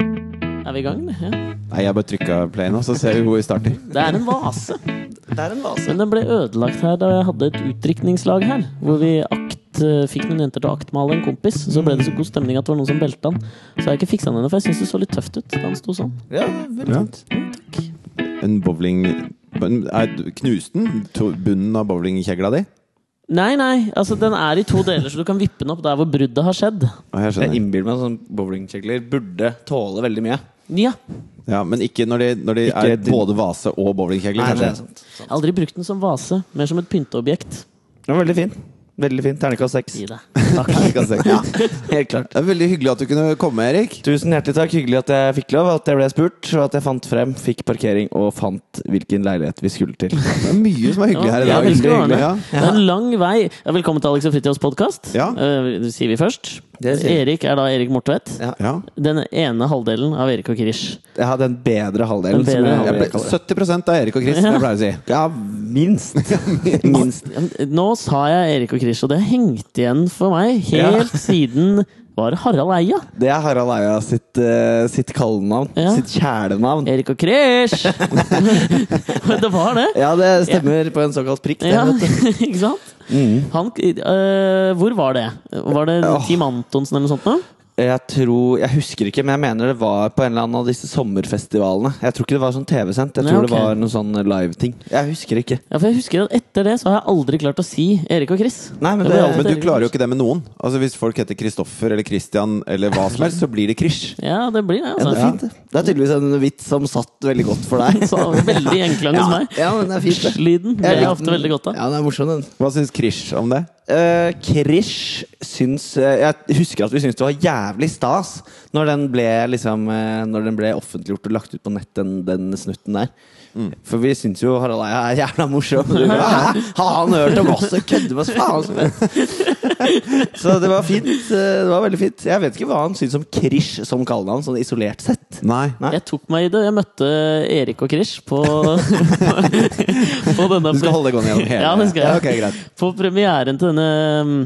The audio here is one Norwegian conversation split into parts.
er vi i gang. Ja. Nei, jeg bare trykka play nå, så ser vi hvor vi starter. Det er en vase. Det er en vase. Men den ble ødelagt her da jeg hadde et utdrikningslag her. Hvor vi akt, eh, fikk noen jenter til å aktmale en kompis. Så ble det så god stemning at det var noen som belta han. Så har jeg ikke fiksa den ennå, for jeg syns det så litt tøft ut da han sto sånn. Ja, veldig Ja. fint. En bowling men er du- Knuste den to- bunnen av bowlingkjegla di? Nei, nei. altså Den er i to deler, så du kan vippe den opp der hvor bruddet har skjedd. Å, jeg Jeg skjønner. innbiller meg at sånn bowlingkjegler burde tåle veldig mye. Ja. Ja, men ikke når de, når de Ikke er din- både vase og bowlingkjegle. Nei, det er sånn- kanskje. sant. Jeg har aldri brukt den som vase, mer som et pynteobjekt. Det var veldig fin. Veldig fin. Terningkast seks. Gi deg. Terningkast seks. Helt klart. Det er veldig hyggelig at du kunne komme, Erik. Tusen hjertelig takk. Hyggelig at jeg fikk lov, at jeg ble spurt, og at jeg fant frem, fikk parkering og fant hvilken leilighet vi skulle til. Det er mye som er hyggelig her i Ja, dag. veldig ordentlig. Ja. Det er en lang vei. Ja, velkommen til Alex og Fritjofs podkast. Ja. det sier vi først. Det sier vi. Erik er da Erik Mortvedt. Ja. Ja. Den ene halvdelen av Erik og Kirish. Jeg hadde en bedre halvdelen. En bedre som jeg- Jeg ble, jeg kaller det. 70 er Erik og Chris, som jeg pleier å si. Ja, minst. minst. Nå sa jeg Erik og Kirish, og det har hengt igjen for meg Ja. helt siden Var det Harald Eia? Det er Harald Eia sitt, eh, sitt kallenavn. Ja. Sitt kjælenavn. Erik og Krish! det var det! Ja, det stemmer på en såkalt prikk. Det, Ja, vet du. Mm. ikke sant? Han, øh, hvor var det? Var det Åh. Team Antonsen eller noe sånt? nå? Jeg tror, jeg husker ikke, men jeg mener det var på en eller annen av disse sommerfestivalene. Jeg tror ikke det var sånn TV-sendt. Jeg Nei, tror ok. det var noen sånn live-ting. Jeg husker ikke. Ja, for jeg husker at Etter det så har jeg aldri klart å si Erik og Chris. Nei, men Det det, ble alt. Men du klarer jo ikke det med noen. Altså Hvis folk heter Kristoffer eller Christian eller hva som helst, så blir det Krish. Ja, det blir det. ja, det Altså. er fint. det. Det er tydeligvis en vits som satt veldig godt for deg. Så veldig gjenklang hos ja, meg. ja, men det er fint, det. Lyden ble Jeg jeg likte ofte den. veldig godt av. Ja, den er morsom, den. Hva syns Krish om det? Eh, Krish syns eh, Jeg husker at vi syntes det var jævlig stas når den ble, liksom, eh, når den ble offentliggjort og lagt ut på nett, den, den snutten der. Mm. For vi syns jo Harald Eia er jævla morsom. Du, bare, Hæ? Har han hørt om oss og kødder med oss? Faen som helst. Så det var fint. eh, Det var veldig fint. Jeg vet ikke hva han syns om Krish som kallenavn, sånn isolert sett. Nei. Nei. Jeg tok meg i det. Jeg møtte Erik og Krish på, på denne Du skal holde det gående gjennom hele Ja, det skal jeg. ok, greit. På premieren til denne um,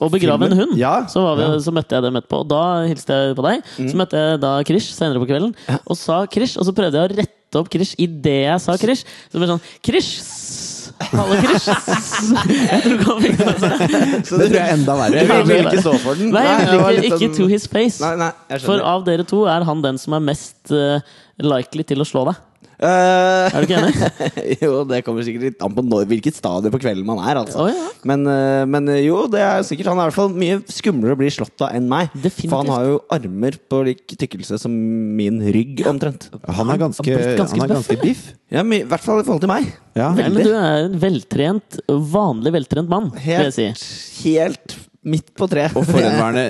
Å begrave en hund. Ja. Mm. Så, var vi, så møtte jeg dem etterpå. Og da hilste jeg på deg. Så møtte jeg da Krish senere på kvelden og sa Krish. Og så prøvde jeg å rette opp Krish idet jeg sa Krish. Så det ble sånn Krish! s- Hallo, Krish! s- Jeg tror ikke han fikk det med seg. Så Det tror jeg er enda verre. Du ville ikke stå for den? Nei, jeg det var vil litt ikke, sånn- ikke to his face. Nei, nei, jeg For skjønner. av dere to er han den som er mest eh, likely til å slå deg. Eh, Er du ikke enig? jo, det kommer sikkert litt an på når, hvilket stadie på kvelden man er, Å, altså. ja. men, eh, men eh, jo, det er sikkert Han er i hvert fall mye skumlere å bli slått av enn meg. Definitivt. For han har jo armer på lik tykkelse som min rygg, omtrent. Han er ganske, blitt ganske han er ganske biff. Ja, my, I hvert fall i forhold til meg. Ja. Nei, men du er en veltrent, vanlig veltrent mann, vil jeg Helt, si. helt midt på treet. Og forhenværende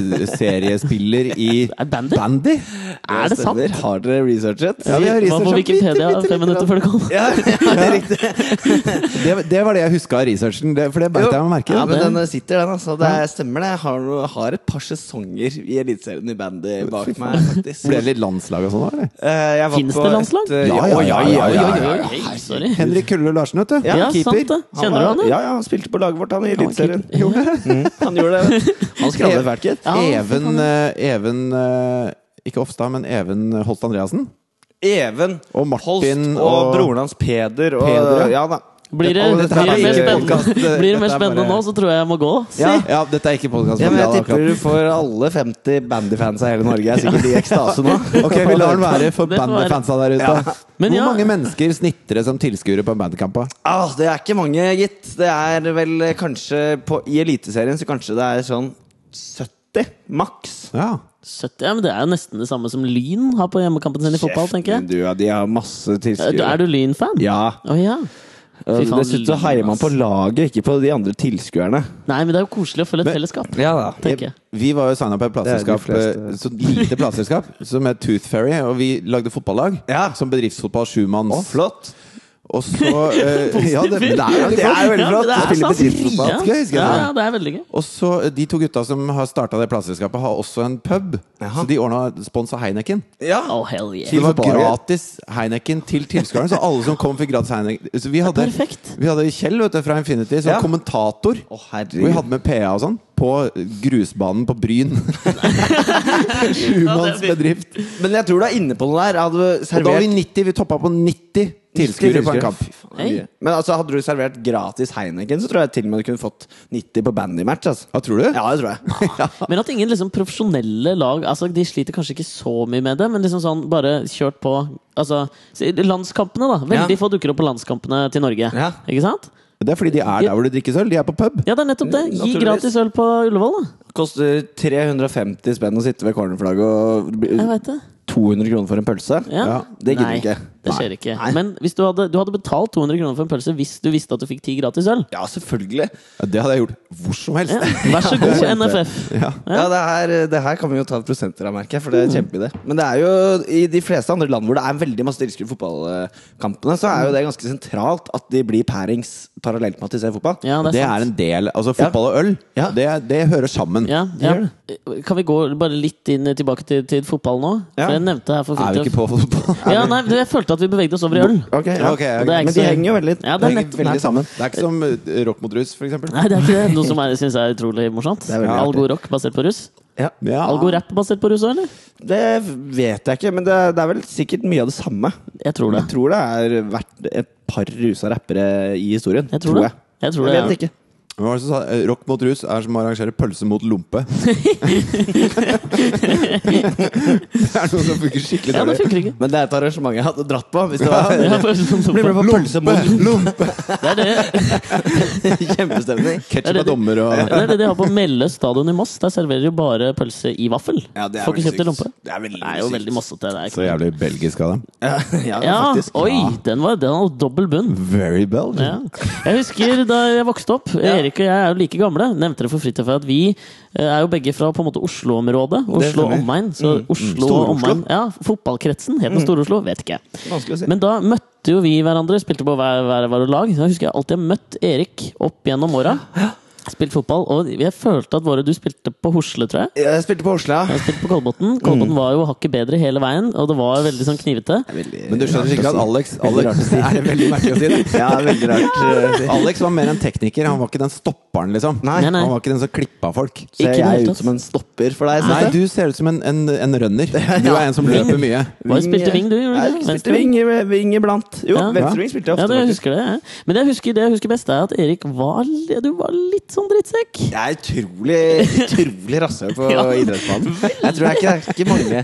eliteseriespiller i Er Bandy? Bandy? Er det sant? stemmer. Har dere researchet? Ja, vi Var har på researcha bitte, Wikipedia bitte fem lite minutter grann. før du kom. Ja, ja, det er riktig. Det, det var det jeg huska av researchen, det, for det beit Jo. jeg meg merke Ja, i. men den sitter, den. altså Det er- stemmer, det. Jeg har, har et par sesonger i Eliteserien i bandy bak meg, faktisk. Ble det litt landslag og sånn òg, eller? Eh, jeg var Finnes på det landslag? et, eh, Ja, ja, ja, ja, ja, ja, ja. Hei, Sorry. Henrik Kulle Larsen, vet du. Ja, sant det. Kjenner var- du han, ja? Ja, ja, han spilte på laget vårt, han i var Eliteserien. keeper. Gjorde det? Mm, Han gjorde det. Han skravlet hvert gitt. Ja, han- Even, eh, Even eh, Ikke Ofstad, men Even Holst Andreassen. Even Og Martin Holst og og- broren hans Peder og Peder, ja. ja da. Blir det, Alle blir det dette her mer er ikke spennende, podcast, det- blir det mer dette er spennende nå, bare- så tror jeg jeg må gå. Si. Ja. Ja, dette er ikke podkast. Ja, men jeg tipper du får alle 50 bandyfans av hele Norge. Jeg er sikkert i ekstase nå. Ok, vi lar den være for Det får være. bandyfansa der ute. Ja. Men Hvor ja- mange mennesker snitter det som tilskuere på en bandykamp? da? Ah, det er ikke mange, gitt. Det er vel kanskje på, I Eliteserien så kanskje det er sånn 70 maks. Ja. 70, ja, men det er jo nesten det samme som Lyn har på hjemmekampen sin i fotball, tenker jeg. Kjeften, Du, ja, de har masse Eh, du- tilskuere. Er du Lyn-fan? Ja. Å ja. Fy faen, Dessuten så Lyn, heier man på ass. laget, ikke på de andre tilskuerne. Nei, men det er jo koselig å føle et fellesskap. Ja da. Tenker jeg. Vi var jo signa på et Det er de plateselskap, fleste. eh, så lite plateselskap, som het Tooth Fairy, og vi lagde fotballag. Ja. Som bedriftsfotball sjumanns. Flott. Og så eh, Ja, det, det, Positiv. er, jo- det er jo Ja, men veldig flott! det er Spiller sant. bedriftsfotball. Ja. skal jeg huske Ja, det. ja, det er veldig gøy. Og så eh, De to gutta som har starta det plateselskapet, har også en pub. Så de ordna spons av Heineken. Ja. Oh, hell yeah. Så det var Bare- gratis Heineken til tilskuerne. Så alle som kom, fikk gratis Heineken. Så vi hadde, perfekt. vi hadde Kjell vet du, fra Infinity som Ja. kommentator. Å, Og vi herregud. hadde med PA og sånn på grusbanen på Bryn. Sjumanns bedrift. Men jeg tror du er inne på noe der. Hadde du Og da var servert vi 90, vi toppa på 90 tilskuere på en kamp. Fy faen, det er mye. Men altså, hadde du servert gratis Heineken, så tror jeg til og med du kunne fått 90 på bandymatch. Altså. Ja, tror du? Ja, det tror jeg. Men at ingen liksom profesjonelle lag Altså De sliter kanskje ikke så mye med det, men liksom sånn bare kjørt på Altså si- Landskampene, da. Veldig Ja. få dukker opp på landskampene til Norge. Ja. Ikke sant? Det er fordi de er der hvor det drikkes øl. De er på pub. Ja, det er nettopp det. Gi Naturligvis. gratis øl på Ullevål, da. Koster 350 spenn å sitte ved cornerflagget Jeg og vet det. 200 kroner for en pølse. Ja. Ja, det gidder Nei, vi ikke. Det Nei. skjer ikke. Nei. Men hvis du hadde, du hadde betalt 200 kroner for en pølse hvis du visste at du fikk ti gratis øl. Ja, selvfølgelig. Ja, det hadde jeg gjort hvor som helst. Ja. Vær så god, kjempe. NFF. Ja, det her, det her kan vi jo ta prosenter av, merker jeg. For det Mm. er kjempeidé. Men det er jo i de fleste andre land hvor det er veldig masse tilskuere i fotballkampene, så Mm. er jo det ganske sentralt at de blir pairings parallelt med at de ser fotball. Ja, det er Det sant. er en del Altså, fotball og øl, Ja. det, det hører sammen. Ja, gjør ja. Kan vi gå bare litt inn tilbake til, til fotball nå? Ja. For jeg nevnte her for Er vi Fridtjof- ikke på fotball? Ja, nei, du, jeg følte at vi bevegde oss over i øl. Ok, ja. Ok, ok. Og det er ikke Men de så- henger jo veldig, Ja, det er henger nettopp- veldig nei. sammen. Det er ikke som eh, rock mot russ, for eksempel. Nei, det er ikke det. Noe som jeg syns er utrolig morsomt. er veldig All artig. Ah. god rock basert på russ. Ja. Ja. All god rap basert på russ òg, eller? Det vet jeg ikke, men det, det er vel sikkert mye av det samme. Jeg tror det. Jeg tror det har vært et par rusa rappere i historien. Jeg tror det. jeg. Jeg tror jeg det. vet ikke. Hvem var det som sa eh, rock mot rus er som å arrangere pølse mot lompe? det er noe som funker skikkelig Ja, det dårlig. funker ikke. Men det er et arrangement jeg hadde dratt på. Hvis det var Ja, for- sånn Bli med på pølse mot Lompe! Det er det, kjempestemning. Det er Ketchup det- og dommer og det, er det de har på Melle stadion i Moss. Der serverer de bare pølse i vaffel. Får ikke kjøpt i lompe. Det er veldig, Det er jo veldig mossete. Det er Så ikke. jævlig belgisk av dem. Ja, ja, Ja, faktisk. oi! Den var, den var dobbel bunn. Very Belgian. Ja. Jeg husker da jeg vokste opp Erik og jeg er jo like gamle. Nevnte det for Fridtjof at vi eh, er jo begge fra på en måte Oslo-området. Oslo og stemmer. Mm. omegn. Så Oslo og Stor-Oslo. omegn Ja, Fotballkretsen. Mm. Het den Stor-Oslo? Vet ikke. Vanskelig å si. Men da møtte jo vi hverandre. Spilte på hver hver vårt lag. Da husker jeg alltid jeg møtt Erik opp gjennom åra. Spilt fotball. Og jeg følte at Våre du spilte på Hosle, tror jeg. Jeg spilte på Osla. Jeg spilte på Kolbotn. Kolbotn var jo hakket bedre hele veien, og det var veldig sånn knivete. Men du skjønner ikke at Alex, Veldig rart å Alex si. er det veldig merkelig å si det? eh, Ja, veldig rart. eh, Alex var mer en tekniker, han var ikke den stopperen, liksom. Nei. Nei, nei. Han var ikke den som klippa folk. Ikke Ser i det hele jeg tatt. ut som en stopper for deg? Nei, Siste? du ser ut som en, en, en rønner. Du er en som løper mye. Hva spilte wing, du? Gjorde du Nei, det? spilte Venstre wing? wing, wing iblant. Jo, Ja. venstre wing spilte jeg Ja, ofte. du faktisk. husker det. ja. Men det jeg husker, det jeg husker best, er at Erik var, li- du var litt sånn drittsekk. Jeg er utrolig, utrolig rasshøl på Ja. idrettsbanen. Jeg tror jeg ikke, det er ikke mange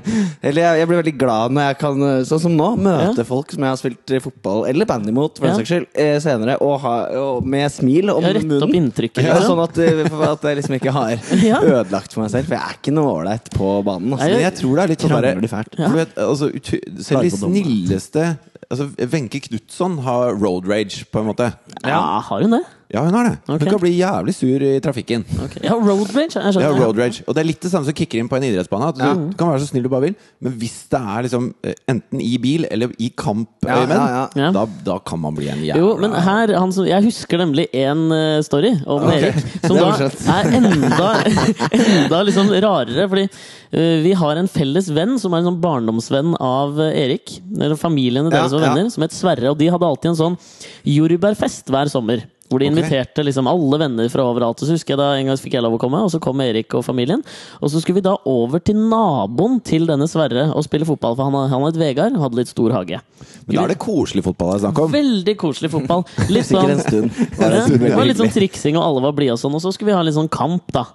Eller jeg, jeg blir veldig glad når jeg kan, sånn som nå, møte Ja. folk som jeg har spilt eh, fotball eller bandy mot, for den Ja. saks skyld, eh, senere, og, ha, og med smil om Ja, rett opp munnen. inntrykket, Ja, liksom. sånn at, eh, for at jeg liksom ikke har Ja. ødelagt for meg selv, for jeg er ikke noe ålreit på banen. Nei, Men Altså. jeg tror det er litt sånn Krangler derre- du fælt? for du vet, altså, ut- Selv de Klarer på dommen. snilleste Altså, Wenche Knutson har road rage, på en måte. Ja, har hun det? Ja, hun har det. Hun Ok. kan bli jævlig sur i trafikken. Ok. Ja, road rage. Jeg Ja, skjønner. road rage. Og det er litt det samme som kicker inn på en idrettsbane. At du, du kan være så snill du bare vil, men hvis det er liksom eh, enten i bil eller i Ja, kampøyemed, ja, ja. Da, da kan man bli en jævla Jo, men her, han som, Jeg husker nemlig en eh, story om Erik som Det er da morsomt. er enda, enda liksom rarere. Fordi eh, vi har en felles venn som er en sånn barndomsvenn av eh, Erik. Eller familiene deres Ja, var ja. venner, som het Sverre. Og de hadde alltid en sånn jordbærfest hver sommer. Hvor de Ok. inviterte liksom alle venner fra overalt. Og så husker jeg da En gang fikk jeg lov å komme, og så kom Erik og familien. Og så skulle vi da over til naboen til denne Sverre og spille fotball. For han, han het Vegard og hadde litt stor hage. Men da er det koselig fotball det er snakk om. Veldig koselig fotball. Litt Sikkert sånn, en stund. ja, Var det en stund det var veldig litt sånn hyggelig. triksing, og alle var blide og sånn. Og så skulle vi ha litt sånn kamp, da.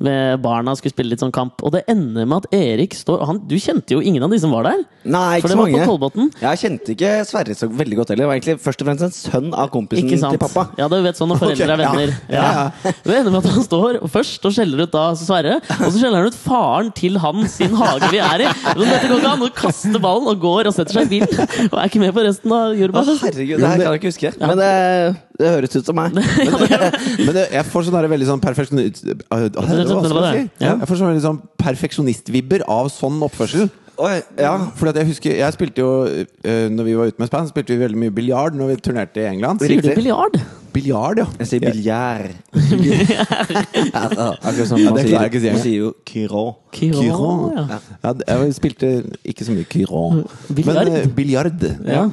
Med barna skulle spille litt sånn kamp. Og det ender med at Erik står han, Du kjente jo ingen av de som var der. Nei, For ikke det så var på mange. Kolbotn. Jeg kjente ikke Sverre så veldig godt heller. Jeg var egentlig først og fremst en sønn av kompisen Ikke sant? til pappa. Ja, du vet sånn når foreldre Ok, er ja. venner. Ja. Det ender med at han står og først og skjeller ut da Sverre, og så skjeller han ut faren til han sin hage vi er i. Og dette går ikke an! Og kaster ballen og går og setter seg i bilen. Og er ikke med på resten av Å, jordbærfesten. herregud, det her kan jeg ikke huske. Men det, det høres ut som meg. Men det, jeg får sånn der veldig sånn perfeksjonist... Hva skal jeg si? Ja. Jeg får sånn veldig sånn perfeksjonistvibber av sånn oppførsel. Oi, ja. Fordi at jeg husker, jeg spilte jo eh, Når vi var ute med Span, så spilte vi veldig mye biljard når vi turnerte i England. Sier du Riktig. biljard? Biljard, ja. Jeg sier Ja. biljard. Akkurat som Ja, det klarer jeg ikke å si. man sier jo kyron. Kyron. ja. Mm, Ja, det- jeg spilte ikke så mye kyron. Biljard. Men eh, biljard. Ja.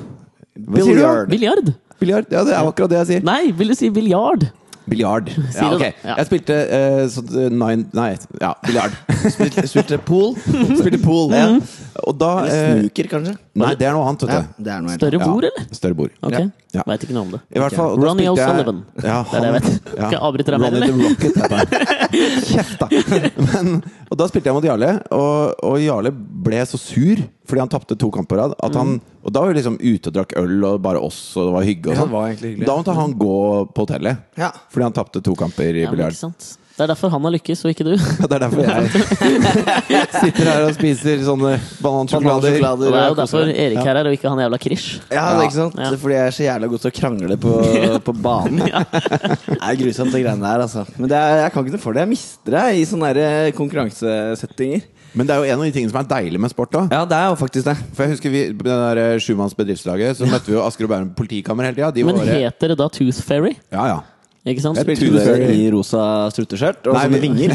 Hva sier du? Biljard? Biljard? Ja, det er akkurat det jeg sier. Nei, vil du si biljard? Biljard. Ja, det da. ok. Ja. Jeg spilte eh, sånn eh, nine Nei, ja, biljard. Spilte, spilte pool? Spilte pool. Mm. Ja. Og da Eller eh, snooker, kanskje? Nei, det er noe annet, Ja, vet du. det er noe helt Større bord, eller? Større bord. Ok, Ja. Veit ikke noe om det. I hvert fall, og da Ronny spilte jeg- O'Sullivan. Ja, Det er det jeg vet. Skal jeg avbryte deg mer, Ronny the Rocket, heter han. Kjeft, da! Men, og da spilte jeg mot Jarle, og, og Jarle ble så sur fordi han tapte to kamper på rad. At han, Mm. og da var vi liksom ute og drakk øl, og bare oss, og det var hygge. Og Ja, sånn. det var egentlig hyggelig. da måtte han gå på hotellet Ja. fordi han tapte to kamper i Ja, men biljard. ikke sant? Det er derfor han har lykkes, og ikke du. Ja, det er derfor jeg sitter her og spiser sånne banansjokolader. Banansjokolader. Og det er jo Ja, derfor Erik her er, og ikke han jævla Krish. Ja, det er ikke sant? Ja. Det er fordi jeg er så jævla god til å krangle på, på banen. Det er grusomt, de greiene der. altså Men det er, jeg kan ikke noe for det. Jeg mister det i sånne der eh, konkurransesettinger. Men det er jo en av de tingene som er deilig med sport òg. Ja, det er jo faktisk det. For jeg husker vi, på det der eh, sjumanns bedriftslaget, så møtte vi jo Asker og Bærum politikammer hele tida. De var Men bare heter det da Tooth Fairy? Ja, ja. Ikke sant? Jeg spilte- Tooth- Tudor i rosa strutteskjørt og Nei, sånne vi- vinger.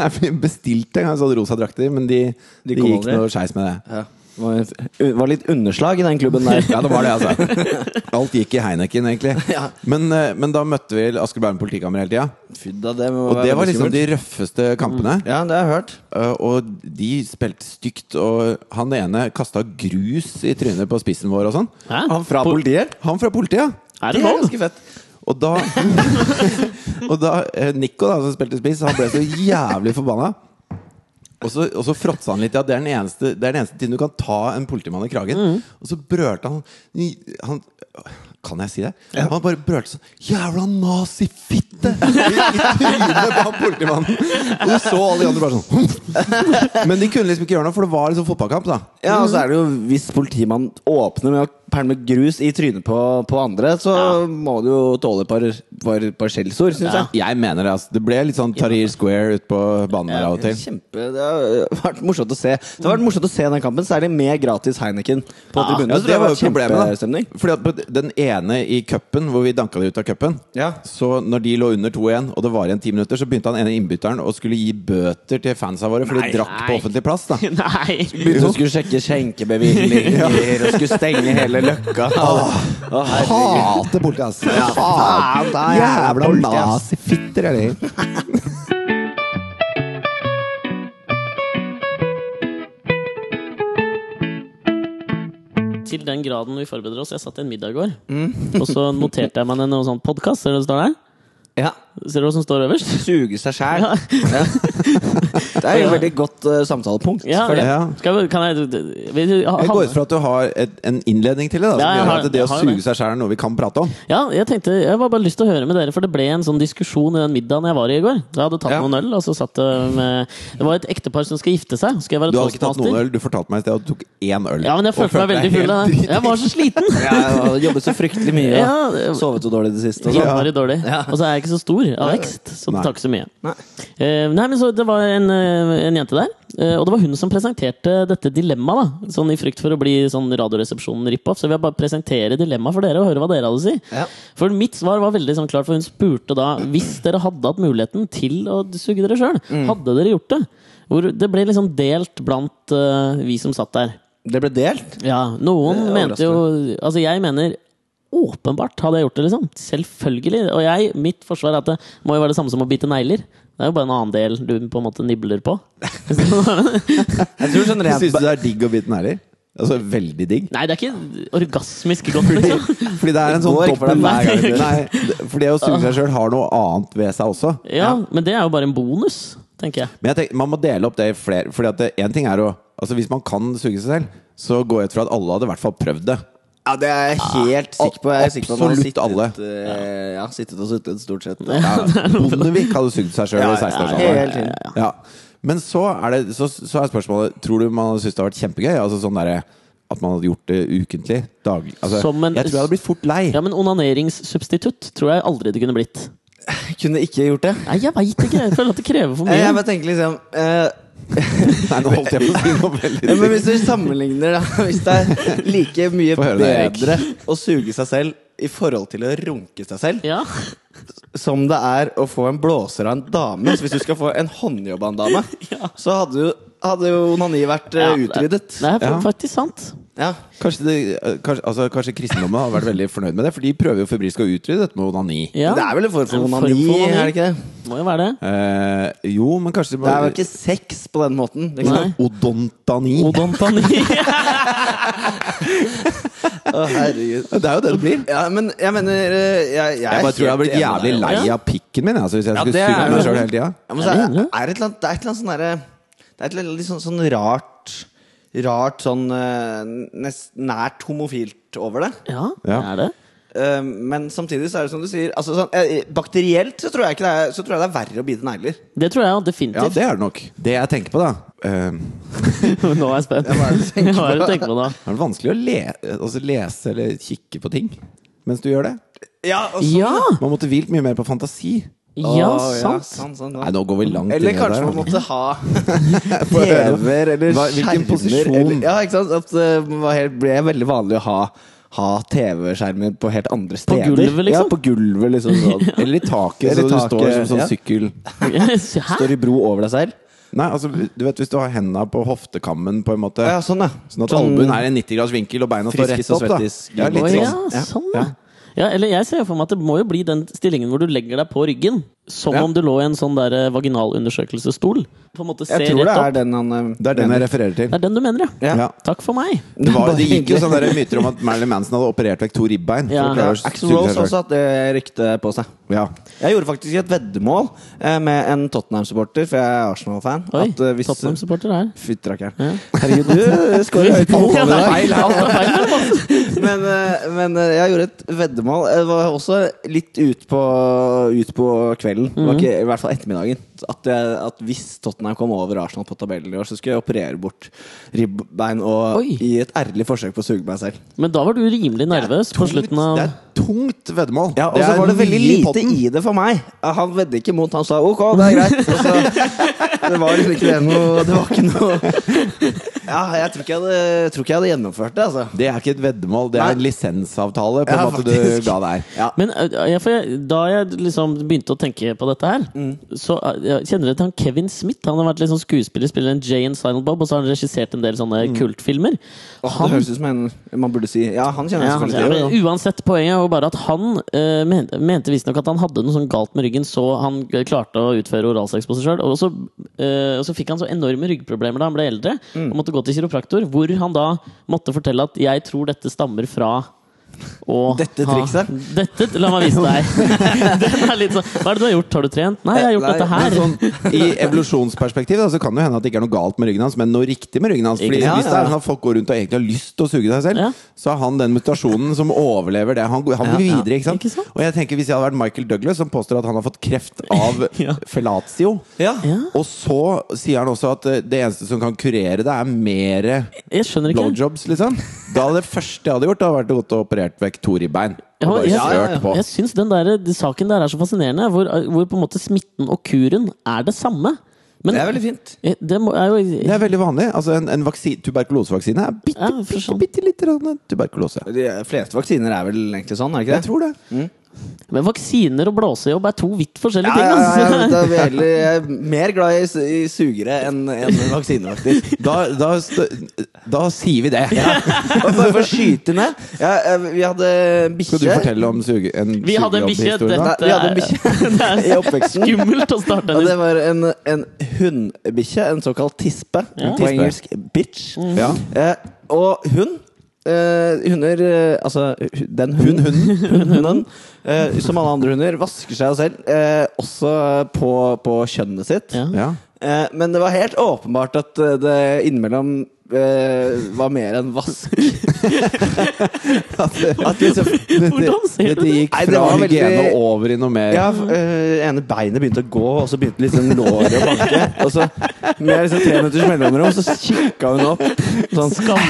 Nei, vi bestilte en gang sånne rosa drakter, men de, De de, kom gikk aldri. noe skeis med det. Ja. Det var- var litt underslag i den klubben der. Ja, det var det, altså. Alt gikk i Heineken, egentlig. Ja. Men, eh, men da møtte vi Asker og Bærum politikammer hele tida. Fy da, det må Og være det var veldig liksom skummelt. de røffeste kampene. Ja, det har jeg hørt. Uh, og de spilte stygt, og han ene kasta grus i trynet på spissen vår og sånn. Hæ? Han fra På- politiet? Han fra politiet! Er det Det er lov? ganske fett. Og da, og da eh, Nico, da, som spilte spiss, han ble så jævlig forbanna. Og så, og så fråtsa han litt. Ja, det er, den eneste, det er den eneste tiden du kan ta en politimann i kragen. Mm. Og så brølte han, han Kan jeg si det? Han bare brølte sånn Jævla nazifitte! I i trynet på han politimannen. Og du så alle de andre bare sånn Men de kunne liksom ikke gjøre noe, for det var liksom fotballkamp, da. Ja, og så er det jo Hvis politimannen åpner med å pælme grus i trynet på, på andre, så Ja. må du jo tåle et par, par, par skjellsord, syns Ja. jeg. Jeg mener det, altså. Det ble litt sånn Tahrir Square ute på banen der av og til. Kjempe, Det har vært morsomt å se Det har vært morsomt å se den kampen, særlig med gratis Heineken på Ja. tribunen. Ja, Så det var jo problemet, da. kjempestemning. Fordi at på den ene i cupen, hvor vi danka de ut av cupen Ja. Så når de lå under 2-1, og det var igjen ti minutter, så begynte han ene innbytteren å skulle gi bøter til fansa våre, for de Nei, drakk nei. på offentlig plass. da Nei! Begynte å skulle sjekke skjenkebevillinger og skulle stenge hele løkka. Å, herregud. Hater politi, ass! Faen, da er jeg Jævla politi, ass. nazifitter, er de! Til den graden vi forbereder oss. Jeg satt i en middag i går, Mm. og så noterte jeg meg ned noen sånn podkast. Ser du hva som står der? Ja. Ser du hva som står øverst? Suge seg sjæl. Ja. Ja. Det er jo et veldig godt eh, samtalepunkt. Ja, føler jeg. Ja. Skal vi, kan jeg vil du- ha- Jeg går ha- ut fra at du har et, en innledning til det, da, som Ja, jeg gjør har- at det jeg å har jo suge det. seg sjæl er noe vi kan prate om. Ja, jeg tenkte, jeg var bare lyst til å høre med dere, for det ble en sånn diskusjon i den middagen jeg var i i går. Jeg hadde tatt Ja. noen øl, og så satt det med Det var et ektepar som skal gifte seg. Skal jeg være Du hadde ikke tatt noen toastmaster? øl, du fortalte meg i sted at du tok én øl. Ja, men jeg Og følte meg veldig deg full. helt da. Jeg var så sliten! Ja, Jeg har jobbet så fryktelig mye. Ja, da. det- Sovet så dårlig i det siste. og sånn. Innmari dårlig. Ja. Og så er jeg ikke så stor av vekst, så Nei. det tar ikke så mye. Nei. Eh, nei, men så Det var en, eh, en jente der, eh, og det var hun som presenterte dette dilemmaet. da. Sånn I frykt for å bli sånn Radioresepsjonen-rip-off, så vil jeg bare presentere dilemmaet for dere og høre hva dere hadde å si. Ja. For mitt svar var veldig sånn klart, for hun spurte da hvis dere hadde hatt muligheten til å suge dere sjøl, Mm. hadde dere gjort det? Hvor det ble liksom delt blant eh, vi som satt der. Det ble delt. Ja, noen Det er mente jo Altså, jeg mener åpenbart hadde jeg gjort det, liksom. Selvfølgelig. Og jeg, mitt forsvar er at det må jo være det samme som å bite negler. Det er jo bare en annen del du på en måte nibler på. Jeg tror sånn Syns rent du det er digg å bite negler? Altså veldig digg? Nei, det er ikke orgasmisk godt, liksom. Fordi det er en Det sånn går ikke for deg dobbel hver gang du gjør det. Nei, det- Fordi det å suge seg sjøl har noe annet ved seg også. Ja, men det er jo bare en bonus, tenker jeg. Men jeg tenker, man må dele opp det i flere. Fordi at det- en ting er å Altså Hvis man kan suge seg selv, så går jeg ut fra at alle hadde i hvert fall prøvd det. Ja, det er jeg helt sikker på. Jeg er sikker på at man har Absolutt sittet, alle. eh, ja, sittet og suttet, stort sett. Ja, Bondevik hadde sugd seg sjøl Ja, i 16 års ja, helt alder. inn. Ja. Men så er, det, så, så er spørsmålet Tror du man hadde syntes det hadde vært kjempegøy? Altså sånn derre at man hadde gjort det ukentlig? Daglig? Altså, Som en- jeg tror jeg hadde blitt fort lei. Ja, men onaneringssubstitutt tror jeg aldri det kunne blitt. Kunne ikke gjort det. Nei, jeg veit ikke. Jeg føler at det krever for Eh, Jeg mye. bare tenker liksom eh, Nei, nå holdt jeg på å si noe veldig Ja, men hvis du sammenligner, da Hvis det er like mye Få høre det, Erik. bedre å suge seg selv i forhold til å runke seg selv, Ja. som det er å få en blåser av en dame Så Hvis du skal få en håndjobb av en dame, så hadde jo, hadde jo onani vært eh, Ja, det- utryddet. Det er fa- Ja. faktisk sant. Ja. Kanskje, det, kanskje, altså, kanskje kristendommen har vært veldig fornøyd med det, for de prøver jo febrilsk å utrydde dette med onani. Ja. Det er vel en form En for form for onani, onani. er det ikke det? Må jo være det. Eh, jo, men kanskje Det er jo ikke sex på den måten. liksom. Ikke Nei. sant? Odontani. Odontani. Å, herregud. det er jo det det blir. Ja, men jeg mener eh, Jeg, jeg, Jeg bare tror jeg har blitt jævlig lei Ja. av pikken min altså, hvis jeg Ja, skulle det suge er meg det. sjøl hele tida. Ja, men så er, Jeg mener det. er det, et eller annet, det er et eller annet sånn derre Det er et eller annet litt sånn, sånn rart Rart sånn eh, nest, nært homofilt over det. Ja, det Ja. er det. Eh, men samtidig så er det som du sier altså sånn, eh, Bakterielt så tror, jeg ikke det er, så tror jeg det er verre å bite negler. Det tror jeg jo Ja, definitivt. det er det nok. Det jeg tenker på, da eh, Nå er jeg spent. Hva er det du tenker Hva er det du på? tenker på da? Er det vanskelig å le altså, lese eller kikke på ting mens du gjør det? Ja, og sånn, Ja! Man måtte hvilt mye mer på fantasi. Ja, Å, sant. sånn, sånn, sånn. Nei, nå går vi langt Eller inn i det kanskje der, man altså. måtte ha Få høre. TV-er eller Hva- hvilken skjermer posisjon? eller- Ja, ikke sant? At det var helt, ble veldig vanlig å ha, ha TV-skjermer på helt andre steder. gulvet, liksom? Ja, på gulvet, liksom. Sånn. Eller i taket, Eller så du taket, står som sånn ja. sykkel. Hæ? Står i bro over deg selv. Nei, altså, du vet hvis du har henda på hoftekammen, på en måte. Ja, sånn, ja. Sånn at albuen er i en 90 graders vinkel, og beina står rett Friskis og opp. da svettis. Ja, Å litt ja, sånn. Ja, sånn, ja. Ja, eller jeg ser for meg at det må jo bli den stillingen hvor du legger deg på ryggen. Som om du lå i en sånn der eh, vaginalundersøkelsesstol. På en måte se Jeg tror rett det er opp. den han eh, Det er den jeg refererer til. Det er den du mener, ja. Ja. Ja. Takk for meg. Det, var, det gikk jo sånn- Bare sånne der myter om at Marilyn Manson hadde operert vekk to ribbein. Ja. For å Ja, klare å Axel suge Rose seg også selv. hatt det ryktet på seg. Ja. Jeg gjorde faktisk et veddemål eh, med en Tottenham-supporter, for jeg er Arsenal-fan. Oi, at, eh, hvis- Tottenham-supporter her. Fytterakkeren. Herregud, du skårer høyt på Ja, det er målet i dag. feil her. Alt er feil her, altså. men, eh, men eh, jeg gjorde et veddemål. Jeg var også litt ut på, ut på kvelden. Det Mhm. var ikke, I hvert fall ettermiddagen. At, jeg, at hvis Tottenham kom over Arsenal på tabellen i år, så skulle jeg operere bort ribbein og Oi. i et ærlig forsøk på å suge meg selv. Men da var du rimelig nervøs på slutten Tungt- av Det er tungt veddemål. Ja, Og så er var det mye veldig i lite potten. i det for meg. Han vedde ikke mot. Han sa ok, det er greit. Og så, det var liksom ikke det noe Det var ikke noe Ja, jeg tror ikke jeg hadde, jeg tror ikke jeg hadde gjennomført det, altså. Det er ikke et veddemål, det er Nei. en lisensavtale på en Ja, måte faktisk. du ga deg. Ja. Men ø, jeg, for jeg, da jeg liksom begynte å tenke på dette her, Mm. så ø, jeg kjenner dere til han Kevin Smith? Han har vært liksom skuespiller, spiller en Jay and Silent Bob, og så har han regissert en del sånne kultfilmer. Mm. Åh, Det høres ut som en man burde si Ja, han kjenner jeg Ja, han, selvfølgelig til. jo, jo. men uansett, poenget er jo bare at han eh, mente, mente visstnok at han hadde noe sånn galt med ryggen, så han klarte å utføre oralsex på seg sjøl. Og, så, eh, og så fikk han så enorme ryggproblemer da han ble eldre, Mm. og måtte gå til kiropraktor, hvor han da måtte fortelle at 'jeg tror dette stammer fra å Dette ha- trikset? Dette, la meg vise deg. Den er litt sånn Hva er det du har gjort? Har du trent? Nei, jeg har gjort Nei, dette Men her. sånn, I evolusjonsperspektiv da, så kan det jo hende at det ikke er noe galt med ryggen hans, men noe riktig med ryggen hans. Fordi Ikke sant? Hvis det Ja, ja, er ja. sånn at folk går rundt og egentlig har lyst til å suge seg selv, Ja. så er han den mutasjonen som overlever det. Han, går- han går Ja, ja. videre, ikke sant? Ikke sant? Og jeg tenker Hvis jeg hadde vært Michael Douglas, som påstår at han har fått kreft av Ja. fellatio Ja. Ja, Og så sier han også at eh, det eneste som kan kurere det, er mere jeg skjønner ikke. blowjobs, liksom. Da hadde det første jeg hadde gjort, Da hadde vært å gått og operert vekk to ribbein. Og Ja, bare jeg- kjørt på. Jeg syns den der, de- saken der er så fascinerende, hvor, hvor på en måte smitten og kuren er det samme. Men Det er veldig fint. Eh, Det må, er jo Det er veldig vanlig. Altså En, en vaksi- tuberkulosevaksine er bitte, Ja, for bitte, sånn. bitte litt grann tuberkulose. De fleste vaksiner er vel egentlig sånn, er det ikke Jeg det? tror det. Men vaksiner og blåsejobb er to vidt forskjellige ja, ja, ja, jeg, ting. vet Altså. det, vi er heller, jeg er mer glad i, su- i sugere enn enn vaksiner, faktisk. Da, da, st- da sier vi det. Og bare for å skyte ned ja, eh, Vi hadde Skal du bikkje. fortelle om suge, en Vi hadde en bikkje. sugejobbhistorie? da? Dette Vi hadde en er- Det i er sånn. oppveksten. skummelt å starte Og en det var en, en hundbikkje, en såkalt tispe. Ja. Mm. På Tispe. engelsk bitch. Ja. Eh, og hun eh, Hunder eh, Altså, hu- den hunden, hun, hunden eh, som alle andre hunder, vasker seg jo selv, eh, også på, på kjønnet sitt. Ja. Ja. Eh, men det var helt åpenbart at eh, det innimellom eh, var mer enn vask At liksom Hvordan ser du Dette gikk Nei, det fra var veldig- hygiene og over i noe mer. Ja, f- øh, ene beinet begynte å gå, og så begynte liksom låret å banke. Og så med liksom tre minutters mellomrom så kikka hun opp. Sånn, Skam.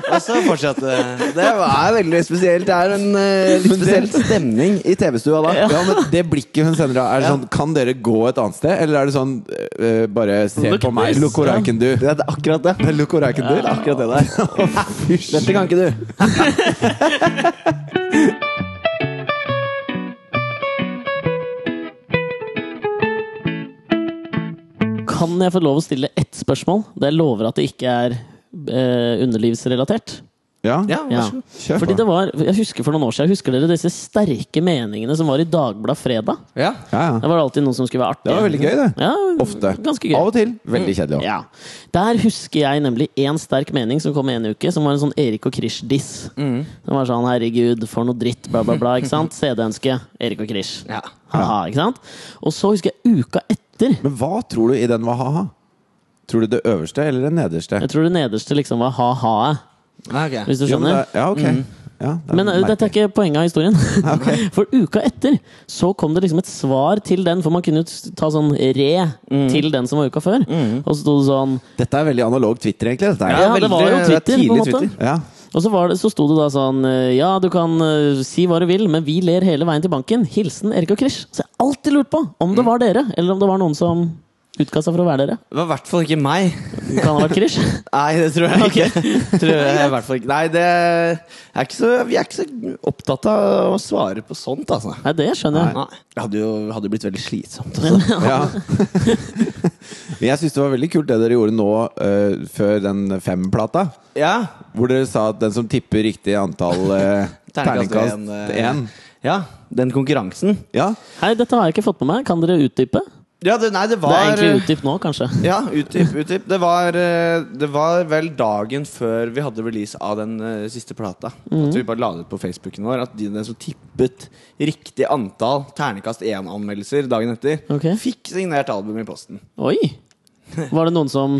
og så fortsatte Det var veldig spesielt. Det er en øh, litt spesiell stemning i TV-stua da. Ja, men Det blikket hun sender, av, er det sånn Kan dere gå et annet sted? Eller er det sånn eh, Bare se Look på at meg. this. Look what I can do. Det er akkurat det. Det er Look what I can do. akkurat det der. Dette kan ikke du. Kan jeg få lov å stille ett spørsmål? Det jeg lover at det ikke er eh, underlivsrelatert. Ja, Ja, vær Ja. så god. kjør Fordi på. det var, jeg husker for noen år siden, husker dere disse sterke meningene som var i Dagbladet fredag? Ja. Ja, ja. Der var det alltid noen som skulle være artig. Det var veldig gøy, det. Ja, Ofte. Ganske gøy. Mm. Av og til. Veldig kjedelig. også. Ja. Der husker jeg nemlig én sterk mening som kom en uke, som var en sånn Erik og Krish-diss. Som var sånn 'herregud, for noe dritt', bla, bla, bla. ikke sant? CD-ønske Erik og Krish. Ja. Haha, ikke sant? Og så husker jeg uka etter. Men hva tror du i den var ha-ha? Tror du det øverste eller det nederste? Jeg tror det nederste liksom var ha-ha-et, hvis du Jo, men skjønner. det- Ja, ok. Ja, det er Men eh, merkelig. dette er ikke poenget av historien. For uka etter så kom det liksom et svar til den, for man kunne jo s- ta sånn re til den som var uka før. Og så sto det sånn Dette er veldig analog Twitter, egentlig. Dette er. Ja, det var jo veldig- det er Twitter, på en tidlig måte. Twitter. Ja. Og så, var det, så sto det da sånn eh, Ja, du kan eh, si hva du vil, men vi ler hele veien til banken. Hilsen Erik og Krish. Så jeg har alltid lurt på om Mm. det var dere, eller om det var noen som utga seg for å være dere. Det var i hvert fall ikke meg. Det kan ha vært Krish. Nei, det tror jeg ikke. tror jeg i hvert fall ikke. Nei, det er ikke så, vi er ikke så opptatt av å svare på sånt, altså. Nei, det skjønner jeg. Nei. Det hadde jo hadde jo blitt veldig slitsomt. Men, Altså. Ja. Jeg syns det var veldig kult det dere gjorde nå eh, før den fem-plata. Ja. Hvor dere sa at den som tipper riktig antall eh, terningkast én eh, Ja, den konkurransen. Ja, Hei, dette har jeg ikke fått med meg. Kan dere utdype? Ja, det, nei, det Det var eh, er egentlig utdyp nå, kanskje. Ja, utdyp, utdyp. Det var, eh, det var vel dagen før vi hadde release av den eh, siste plata. At vi bare la det ut på Facebooken vår at de den som tippet riktig antall ternekast 1-anmeldelser dagen etter, Ok. fikk signert album i posten. Oi! Var det noen som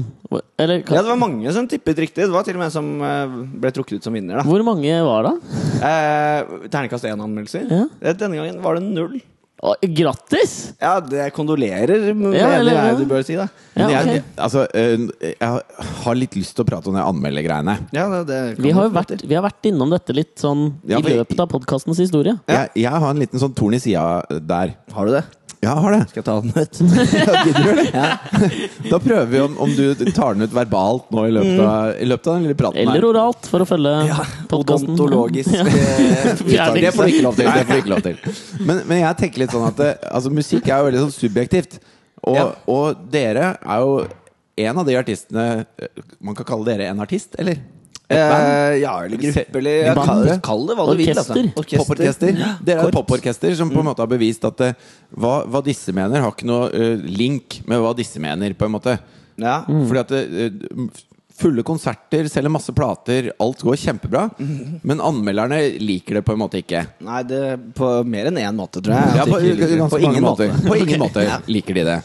Eller Ja, kan, det var mange som tippet riktig. Det var til og med en som eh, ble trukket ut som vinner. da hvor mange var det? eh, Ternekast 1-anmeldelser. Ja. Denne gangen var det null. Å, Grattis! Ja, det kondolerer, mener Ja, eller- jeg du bør si. da Ja, Men ok. jeg, altså, eh, jeg har litt lyst til å prate om de anmeldergreiene. Ja, det, det kan Vi har jo du få vært, til. vi har vært innom dette litt sånn i Ja, for- løpet av podkastens historie. Ja. Jeg, jeg har en liten sånn torn i sida der. Har du det? Ja, jeg har det. Skal jeg ta den ut? Da prøver vi om, om du tar den ut verbalt nå i løpet av, i løpet av den lille praten Mm. Eller oralt, for å følge Ja, podkasten. odontologisk eh, uttak. Fjerning. Det får du ikke lov til. Nei, det får du ikke lov til. Men, men jeg tenker litt sånn at det, altså, musikk er jo veldig sånn subjektivt. Og, Ja. og dere er jo en av de artistene eh, Man kan kalle dere en artist, eller? Et band? Eh, ja, eller gruppe, eller ja, Band. kall, det- kall det hva du vil. Altså. Orkester. Poporkester. Dere er et Korps. Mm. poporkester som på en måte har bevist at eh, hva, hva disse mener, har ikke noe eh, link med hva disse mener, på en måte. Ja. Mm. Fordi at eh, fulle konserter, selger masse plater, alt går kjempebra. Mm. Men anmelderne liker det på en måte ikke. Nei, det på mer enn én måte, tror jeg. Ja, altså, på, At det ikke ligger- ganske på mange ingen måter. måte. På ingen måte Ja. liker de det.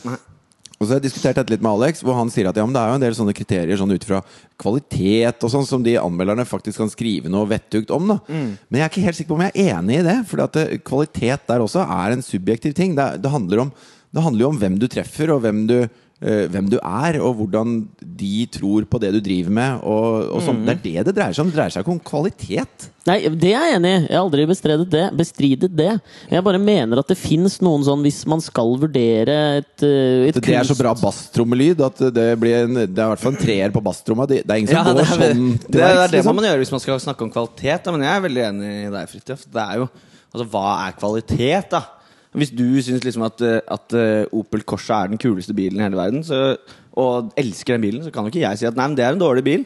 Og så har jeg diskutert dette litt med Alex, hvor han sier at ja, men det er jo en del sånne kriterier sånn ut fra kvalitet og sånn, som de anmelderne faktisk kan skrive noe vettugt om. Da. Men jeg er ikke helt sikker på om jeg er enig i det, for at eh, kvalitet der også er en subjektiv ting. Det, er- det, handler, om, det handler jo om hvem du treffer, og hvem du, eh, hvem du er, og hvordan de tror på det du driver med. Og, og sånn. Det er det det dreier seg om. Det dreier seg ikke om kvalitet. Nei, det er jeg enig i. Jeg har aldri bestredet det. Bestridet det. Jeg bare mener at det fins noen sånn hvis man skal vurdere et, eh, et Det er så kunst- bra basstrommelyd at det blir en, Det er i hvert fall en treer på basstromma. Det, det er ingen som Ja, det, går er, sånn det, til det er verks. det man Liksom. må gjøre hvis man skal snakke om kvalitet. Da. Men jeg er veldig enig i deg, Fridtjof. Det er jo Altså, hva er kvalitet, da? Hvis du syns liksom at, eh, at eh, Opel Corsa er den kuleste bilen i hele verden, så, og elsker den bilen, så kan jo ikke jeg si at nei, men det er en dårlig bil.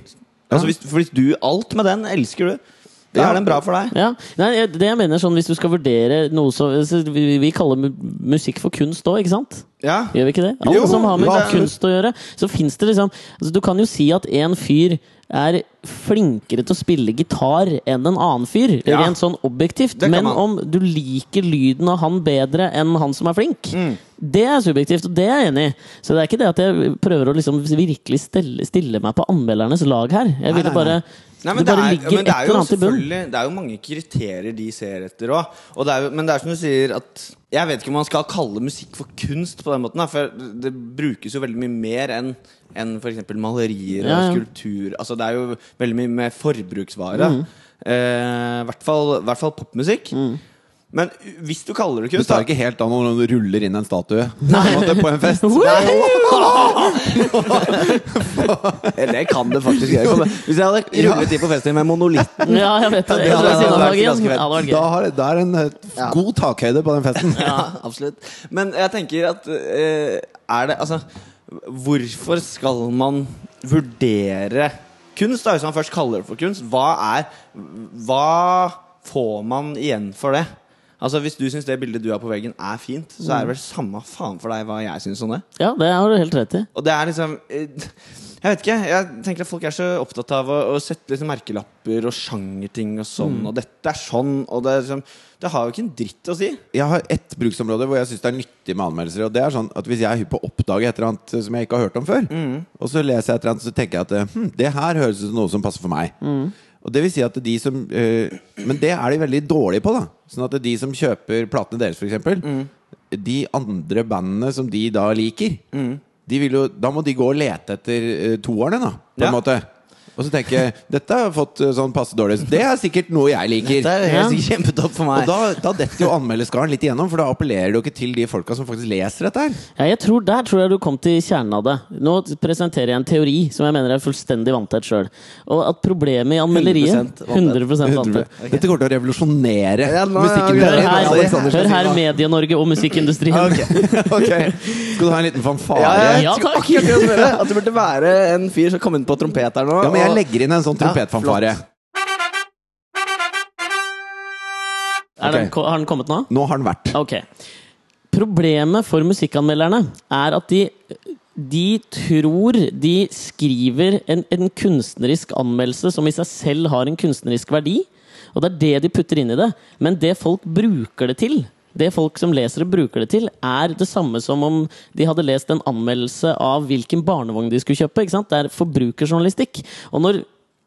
Altså, hvis, for hvis du Alt med den elsker du. Da Ja. er den bra for deg. Ja. Nei, jeg- det jeg mener sånn, Hvis du skal vurdere noe så så Vi vi kaller mu- musikk for kunst òg, ikke sant? Ja. Gjør vi ikke det? Alle Jo, som har med ja, absolutt. kunst å gjøre. Så finnes det liksom altså, Du kan jo si at en fyr er flinkere til å spille gitar enn en annen fyr, Ja. rent sånn objektivt. Det kan Men man. om du liker lyden av han bedre enn han som er flink, Mm. det er subjektivt, og det er jeg enig i. Så det er ikke det at jeg prøver å liksom virkelig stelle, stille meg på anmeldernes lag her. Jeg ville nei, bare Nei, men Det det, bare er, ligger men et det er eller jo annet i bunnen. selvfølgelig Det er jo mange kriterier de ser etter òg. Og det er jo, men det er som du sier at Jeg vet ikke om man skal kalle musikk for kunst på den måten. da, For det brukes jo veldig mye mer enn enn for f.eks. malerier Ja, ja. og skulptur. Altså Det er jo veldig mye med forbruksvare. Mm. Eh, I hvert fall, i hvert fall popmusikk. Men hvis du kaller det Du kunst, tar da ikke helt av når noen ruller inn en statue på en måte, på en fest. Eller kan det faktisk gjøre. for Hvis jeg hadde rullet inn på festen med monolitten Ja, jeg vet det. det Ja, hadde ved siden av vært dagen. ganske fett. Ja, det hadde vært Da gøy. har, det er en eh, Ja. god takhøyde på den festen. Ja, absolutt. Men jeg tenker at eh, Er det Altså, hvorfor skal man vurdere kunst, da, hvis man først kaller det for kunst? Hva er Hva får man igjen for det? Altså Hvis du syns det bildet du har på veggen, er fint, så er det vel samme faen for deg hva jeg syns om det. Ja, det har du helt rett i. Og det er liksom eh, Jeg vet ikke. Jeg tenker at folk er så opptatt av å, å sette liksom merkelapper og sjangerting og sånn, og dette er sånn, og det er liksom Det har jo ikke en dritt å si. Jeg har ett bruksområde hvor jeg syns det er nyttig med anmeldelser. Og det er sånn at Hvis jeg er hypp på å oppdage et eller annet eh, som jeg ikke har hørt om før, Mm. og så leser jeg et eller annet, så tenker jeg at eh, hm, det her høres ut som noe som passer for meg. Mm. Og det vil si at de som eh, Men det er de veldig dårlige på, da. Sånn at de som kjøper platene deres, f.eks., Mm. de andre bandene som de da liker, Mm. de vil jo, da må de gå og lete etter eh, toerne, da, på Ja. en måte. Og så tenker jeg dette har jeg fått eh, sånn passe dårlig. Det er sikkert noe jeg liker. Det er Ja. helt sikkert kjempetopp for Og meg. da, da detter jo anmeldeskaren litt igjennom, for da appellerer du ikke til de folka som faktisk leser dette her. Ja, jeg tror Der tror jeg du kom til kjernen av det. Nå presenterer jeg en teori som jeg mener er fullstendig vanntett sjøl. Og at problemet i anmelderiet 100% vanntett. 100 vanntett. Dette kommer til å revolusjonere Ja, nå- musikken. Hør Hør her, her, hør her Medie-Norge og musikkindustrien. Ok. Skal du ha en liten fanfare? Ja, Ja, ja, Ja, jeg skulle takk. akkurat til å spørre At det burde være en fyr som kom inn på trompet her nå. men jeg og- legger inn en sånn Ja, trompetfanfare. flott. Er den, Ok. ko- har den kommet nå? Nå har den vært. Ok. Problemet for musikkanmelderne er at de, de tror de skriver en, en kunstnerisk anmeldelse som i seg selv har en kunstnerisk verdi. Og det er det de putter inn i det. Men det folk bruker det til, det folk som leser det, bruker det til, er det samme som om de hadde lest en anmeldelse av hvilken barnevogn de skulle kjøpe. Ikke sant? Det er forbrukerjournalistikk. Og når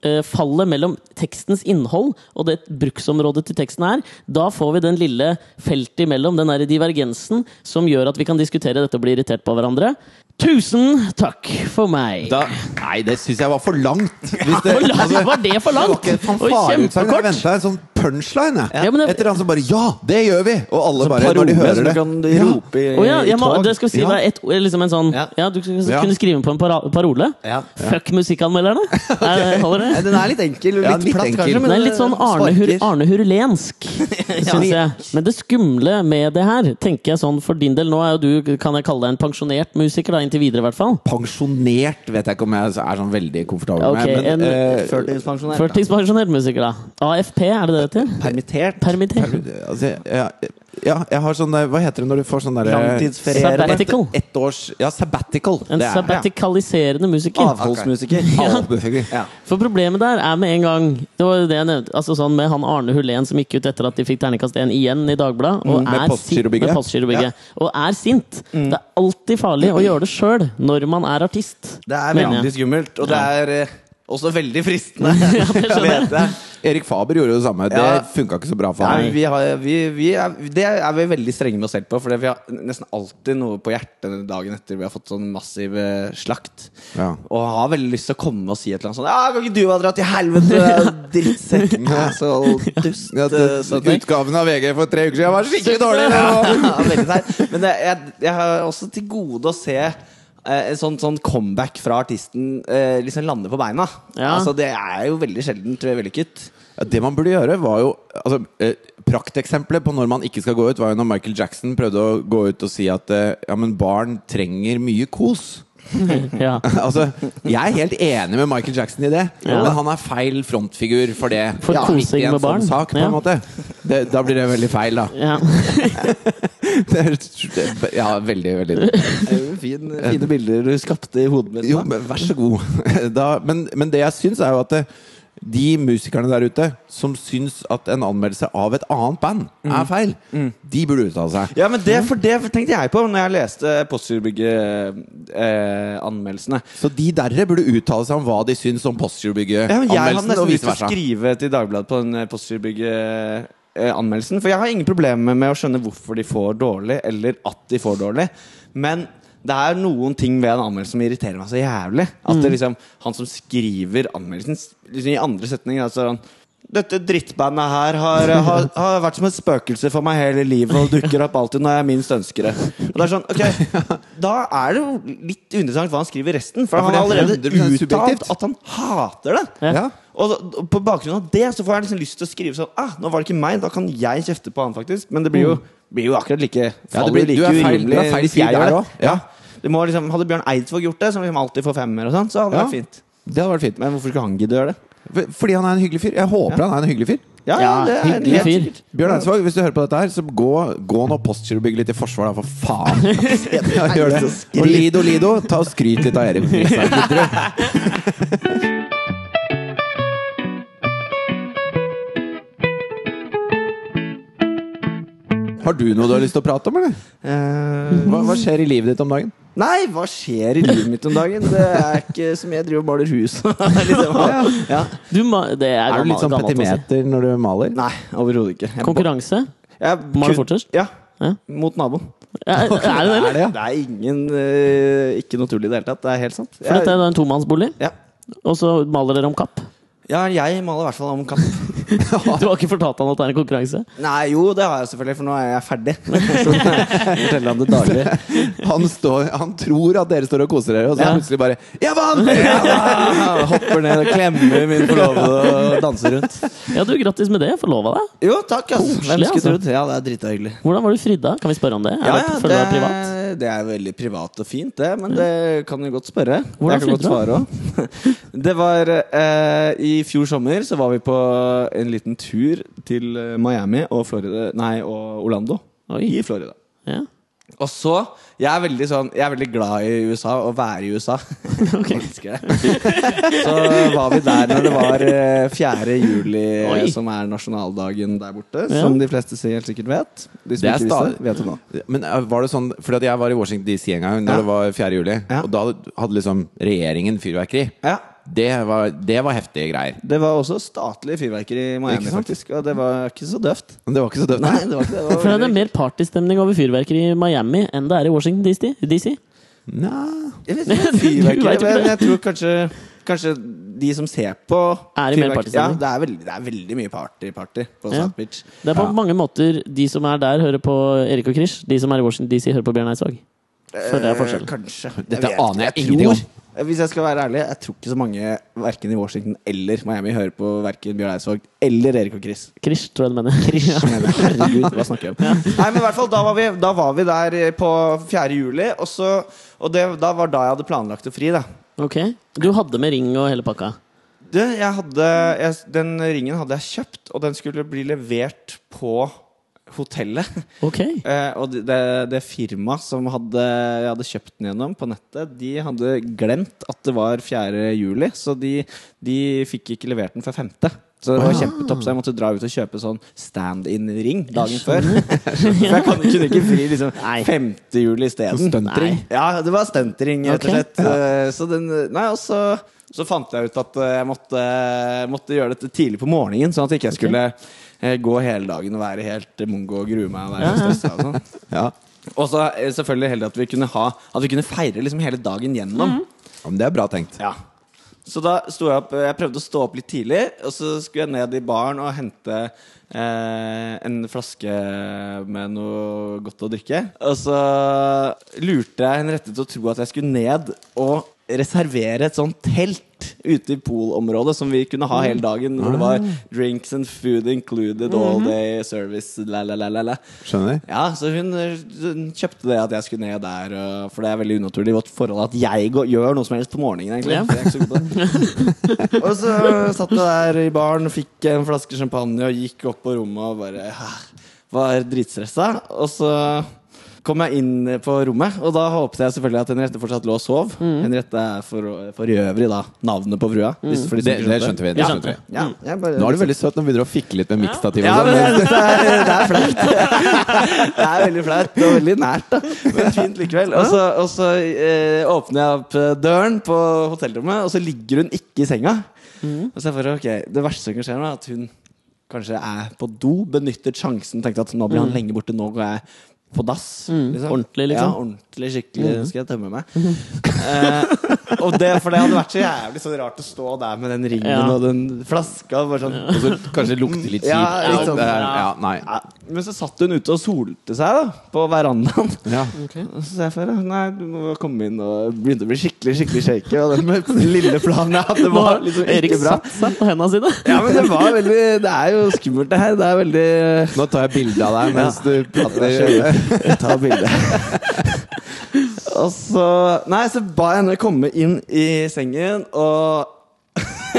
eh, fallet mellom tekstens innhold og det bruksområdet til teksten er, da får vi den lille feltet imellom, den der divergensen, som gjør at vi kan diskutere dette og bli irritert på hverandre. Tusen takk for meg! Da, nei, det syns jeg var for langt. Hvis For langt, var det for det var langt? ikke et Og fanfareutsagn. Jeg kjempekort! venta en sånn punchline. Ja, jeg. men det- Et eller annet som bare Ja, det gjør vi! Og alle bare, Parole når de hører som det. du kan Ja. rope i, Å ja, jeg må, i tog. det skal vi si Ja. det er et, liksom en sånn Ja. Ja, du kunne Ja. kunne skrive på en para, parole. Ja. Fuck musikkanmelderne! Er- Holder det? Nei, Den er litt enkel og Ja, litt, litt platt, enkel. kanskje. Men Det er litt sånn Arne, Hur, sparker. Arne Hurulensk, syns jeg. Men det skumle med det her, tenker jeg sånn for din del Nå er jo du, kan jeg kalle deg en pensjonert musiker, da, inntil videre i hvert fall. Pensjonert vet jeg ikke om jeg er sånn veldig komfortabel Ok, med. en- Men, eh, Førtidspensjonert. da. Førtidspensjonert musiker, da. AFP, er det det det heter? Permittert. Permittert. Altså, jeg- jeg- ja, jeg har sånn der, Hva heter det når du får sånn der Langtidsferierende. Sabbatical. Ett års Ja, sabbatical. En det er- sabbatikaliserende musiker. Avholdsmusiker. Ja. Avholdsmusiker. Ja. For problemet der er med en gang Det var jo det jeg nevnte. Altså sånn med han Arne Hulén som gikk ut etter at de fikk terningkast 1 igjen i Dagbladet. Og, Mm, med er Postgirobygget. sint- Mm. med Postgirobygget. og er sint. Det er alltid farlig å gjøre det sjøl når man er artist. Det er mener jeg. veldig skummelt, og det er eh, også veldig fristende. det skjønner jeg. vet jeg. Erik Faber gjorde jo det samme. Ja. Det funka ikke så bra for Nei, ham. vi har, vi, vi er, det er vi veldig strenge med oss selv på, for vi har nesten alltid noe på hjertet dagen etter vi har fått sånn massiv eh, slakt. Ja. Og har veldig lyst til å komme og si et eller annet sånt Ja, kan ikke du ha dratt til helvete, drittsekk, asshole, dust Ja, eh, det, sånne ting. utgaven av VG for tre uker siden var skikkelig dårlig! Ja, veldig teit. Men det, jeg, jeg har også til gode å se eh, en sånn, sånn comeback fra artisten eh, liksom lande på beina. Ja. Altså, det er jo veldig sjelden tror jeg, vellykket. Ja, det man burde gjøre, var jo altså, eh, Prakteksempelet på når man ikke skal gå ut, var jo når Michael Jackson prøvde å gå ut og si at eh, ja, men barn trenger mye kos. Ja. Altså, jeg er helt enig med Michael Jackson i det, Ja. men han er feil frontfigur for det. For Ja, midt i kosing en med barn. Sånn sak, på Ja. en måte. Det, da blir det veldig feil, da. Ja. Det er- det- Ja, veldig, veldig fine bilder du skapte i hodet mitt. Jo, men vær så god. Da, men, men det jeg syns, er jo at det, de musikerne der ute som syns at en anmeldelse av et annet band Mm. er feil, de burde uttale seg. Ja, men det, for det tenkte jeg på når jeg leste eh, Postgirobygget-anmeldelsene. Så de derre burde uttale seg om hva de syns om ja, men jeg hadde Postgirobygget-anmeldelsen, nesten og vice lyst til å versa. skrive til Dagbladet på den eh, Postgirobygget-anmeldelsen. For jeg har ingen problemer med å skjønne hvorfor de får dårlig, eller at de får dårlig. Men det er noen ting ved en anmeldelse som irriterer meg så jævlig. At Mm. det liksom, han som skriver anmeldelsen, s- liksom i andre setninger altså, han, dette drittbandet her har, eh, har, har vært som et spøkelse for meg hele livet og dukker opp alltid når jeg minst ønsker det. Og det er sånn, ok, Da er det jo litt uinteressant hva han skriver i resten, Ja, for for han har det er allerede 100% uttalt subjektivt. at han hater det. Ja. Og da- på bakgrunn av det så får jeg liksom lyst til å skrive sånn ah, Nå var det ikke meg, da kan jeg kjefte på han, faktisk. Men det blir jo, blir jo akkurat like Mm. Ja, det faller blir- like du er feil- du urimelig er feil hvis fyr jeg gjør der det. også. Ja. Du må liksom, hadde Bjørn Eidsvåg gjort det, som liksom alltid får femmer, og sånn, så hadde det Ja. vært fint. Det hadde vært fint. Men hvorfor skulle han gidde å gjøre det? For- Fordi han er en hyggelig fyr. Jeg håper han er en hyggelig fyr. Ja, ja, Ja, det er hyggelig helt fyr. sikkert. Bjørn Eidsvåg, hvis du hører på dette her, så gå, gå nå postgirobygget litt i forsvar, da, for faen. Ja, gjør det. Og Lido Lido, ta og skryt litt av Erik Frisdal, gidder du? Har du noe du har lyst til å prate om, eller? Eh, Hva, hva skjer i livet ditt om dagen? nei, hva skjer i livet mitt om dagen? Det er ikke så mye jeg driver og maler hus. liksom. ja. Du, ma- det er, Er du gammel- litt sånn gammelt å si. petimeter når du maler? Nei, overhodet ikke. Jeg- Konkurranse? jeg Maler kun- fortest? Ja. Ja. Mot naboen. Ja, er det det, eller? Er det, ja? Det er ingen eh, Ikke noe tull i det hele tatt. Det er helt sant. For dette er da en tomannsbolig, ja. og så maler dere om kapp. ja, jeg maler i hvert fall om kapp. Du har ikke fortalt han at det er en konkurranse? Nei, jo, det har jeg selvfølgelig, for nå er jeg ferdig. Så jeg forteller han det daglig. Han, står, han tror at dere står og koser dere, og så Ja. plutselig bare Jeg vant! Ja, Ah, hopper ned og klemmer min forlovede og danser rundt. Ja, du, grattis med det. Forlova deg. Jo, takk, ass. Hvem Koselig, skulle altså. trodd? Ja, det er drita hyggelig. Hvordan var du fridd da? Kan vi spørre om det? Er Ja, det, ja, føler du deg privat? det, det er veldig privat og fint, det. Men det kan du godt spørre. Hvordan jeg kan godt flytter svare også. Det var eh, I fjor sommer så var vi på en liten tur til eh, Miami og Florida Nei, og Orlando. Oi. I Florida. Ja. Og så Jeg er veldig sånn Jeg er veldig glad i USA og være i USA. Jeg elsker det. Så var vi der når det var eh, 4. juli, Oi. som er nasjonaldagen der borte. Ja. Som de fleste helt sikkert vet. De som Det er ikke visste, stadig- vet det nå. Men eh, var det sånn Fordi at jeg var i Washington DC en gang Når Ja. det var 4. juli Ja. Og da hadde liksom regjeringen fyrverkeri Ja Det var, det var heftige greier Det var også statlige fyrverkeri i Miami, Ikke sant? faktisk. Og det var ikke så døvt. Men det var ikke så døvt Nei, det var ikke det. det For var det er mer partystemning over fyrverkeri i Miami enn det er i Washington DC. DC. Nei. jeg vet ikke, Du vet jo fyrverkeri, ikke men det. jeg tror kanskje Kanskje de som ser på Er i mer fyrverkeri Ja, partystemning. det er veldig, det er veldig mye party-party på Ja. South Beach. Det er på mange måter de som er der, hører på Erik og Krish. De som er i Washington DC, hører på Bjørn Eidsvåg. Føler jeg Eh, forskjell. Kanskje. Dette vet aner ikke. jeg ingenting om. tror- Hvis jeg skal være ærlig, jeg tror ikke så mange verken i Washington eller Miami hører på verken Bjørn Eidsvåg eller Erik og Chris. Krish, tror jeg du mener. Krish. Herregud, hva snakker jeg om? Nei, men i hvert fall, da var vi, da var vi der eh, på 4. juli, og, så, og det, da var da jeg hadde planlagt å fri, da. Ok. Du hadde med ring og hele pakka. Du, jeg hadde, jeg, den ringen hadde jeg kjøpt, og den skulle bli levert på hotellet. Ok. Eh, og det, det firmaet som hadde, jeg hadde kjøpt den gjennom på nettet, de hadde glemt at det var 4. juli, så de, de fikk ikke levert den før 5. Så det var kjempetopp, så jeg måtte dra ut og kjøpe sånn stand-in-ring dagen før. For jeg kan, kunne ikke fri liksom Nei. 5. juli isteden. Stuntring Ja, det var stuntering, rett og Ok. slett. Eh, Så, den, nei, og så, så fant jeg ut at eh, jeg måtte, eh, måtte gjøre dette tidlig på morgenen, sånn at jeg ikke skulle eh, gå hele dagen og være helt eh, mongo og grue meg og være stressa og sånn. ja. Og så eh, selvfølgelig heldig at vi kunne, ha, at vi kunne feire liksom hele dagen gjennom. Ja, Men det er bra tenkt Ja så da sto jeg opp, jeg prøvde å stå opp litt tidlig, og så skulle jeg ned i baren og hente eh, en flaske med noe godt å drikke. Og så lurte jeg henne rette til å tro at jeg skulle ned og reservere et sånt telt ute i poolområdet som vi kunne ha hele dagen. Hvor det var drinks and food included, all day service, la, la, la, la, la. Skjønner? Ja, så hun, eh, hun kjøpte det at jeg skulle ned der, og, for det er veldig unaturlig i vårt forhold at jeg går, gjør noe som helst på morgenen, egentlig. Ja. for jeg er ikke så god på det. og så satt jeg der i baren, fikk en flaske champagne og gikk opp på rommet og bare ah, var dritstressa. Og så kom jeg inn på rommet, og da håpet jeg selvfølgelig at Henriette fortsatt lå og sov. Mm. Henriette er for, for øvrig da navnet på frua. hvis- for Mm. de som Det- ikke det skjønte vi, det Ja. skjønte vi. Ja, jeg bare- Nå er du veldig søt når du begynner å fikle litt med liksom. mikstativet. ja, og men sånn. jeg synes det er, det er flaut. Det er veldig flaut og veldig nært, da. Men fint likevel. Og så, og så eh, åpner jeg opp eh, døren på hotellrommet, og så ligger hun ikke i senga. Mm. Og så er jeg bare, ok, Det verste som kan skje, nå er at hun kanskje er på do, benyttet sjansen, tenkte at nå blir han lenge borte, nå går jeg på dass. Mm. ordentlig, liksom. Mm. Ja, ordentlig, skikkelig. Nå skal jeg tømme meg. Eh, og det, for det hadde vært så jævlig så rart å stå der med den ringen Ja. og den flaska. Bare sånn, Og så kanskje det lukter litt kjipt. Ja, Ja, litt sånn. det er- ja, nei. ja, men så satt hun ute og solte seg da på verandaen. Ja. Mm. Og så sa jeg for henne nei, du må komme inn og begynte å bli skikkelig skikkelig shaky. Og den med den lille planen jeg hadde, Nå var har liksom Erik ikke bra. satt seg på hendene sine. Ja, men det var veldig Det er jo skummelt, det her. Det er veldig Nå tar jeg bilde av deg mens du prater. Ta bilde. Og så Nei, så ba jeg henne komme inn i sengen, og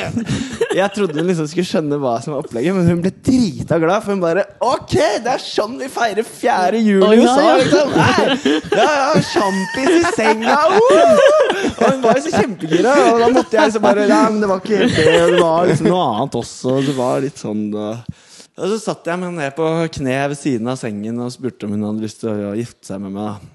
jeg trodde hun liksom skulle skjønne hva som var opplegget, men hun ble drita glad. For hun bare OK, det er sånn vi feirer 4. juli Å, i ja, USA, ja. liksom! Nei, ja, ja, sjampis i senga! woo!» Og hun var jo så kjempegira, og da måtte jeg liksom bare Ja, men det var ikke helt det, og det var liksom noe annet også. og Det var litt sånn og... og så satt jeg med henne ned på kne ved siden av sengen og spurte om hun hadde lyst til å gifte seg med meg. da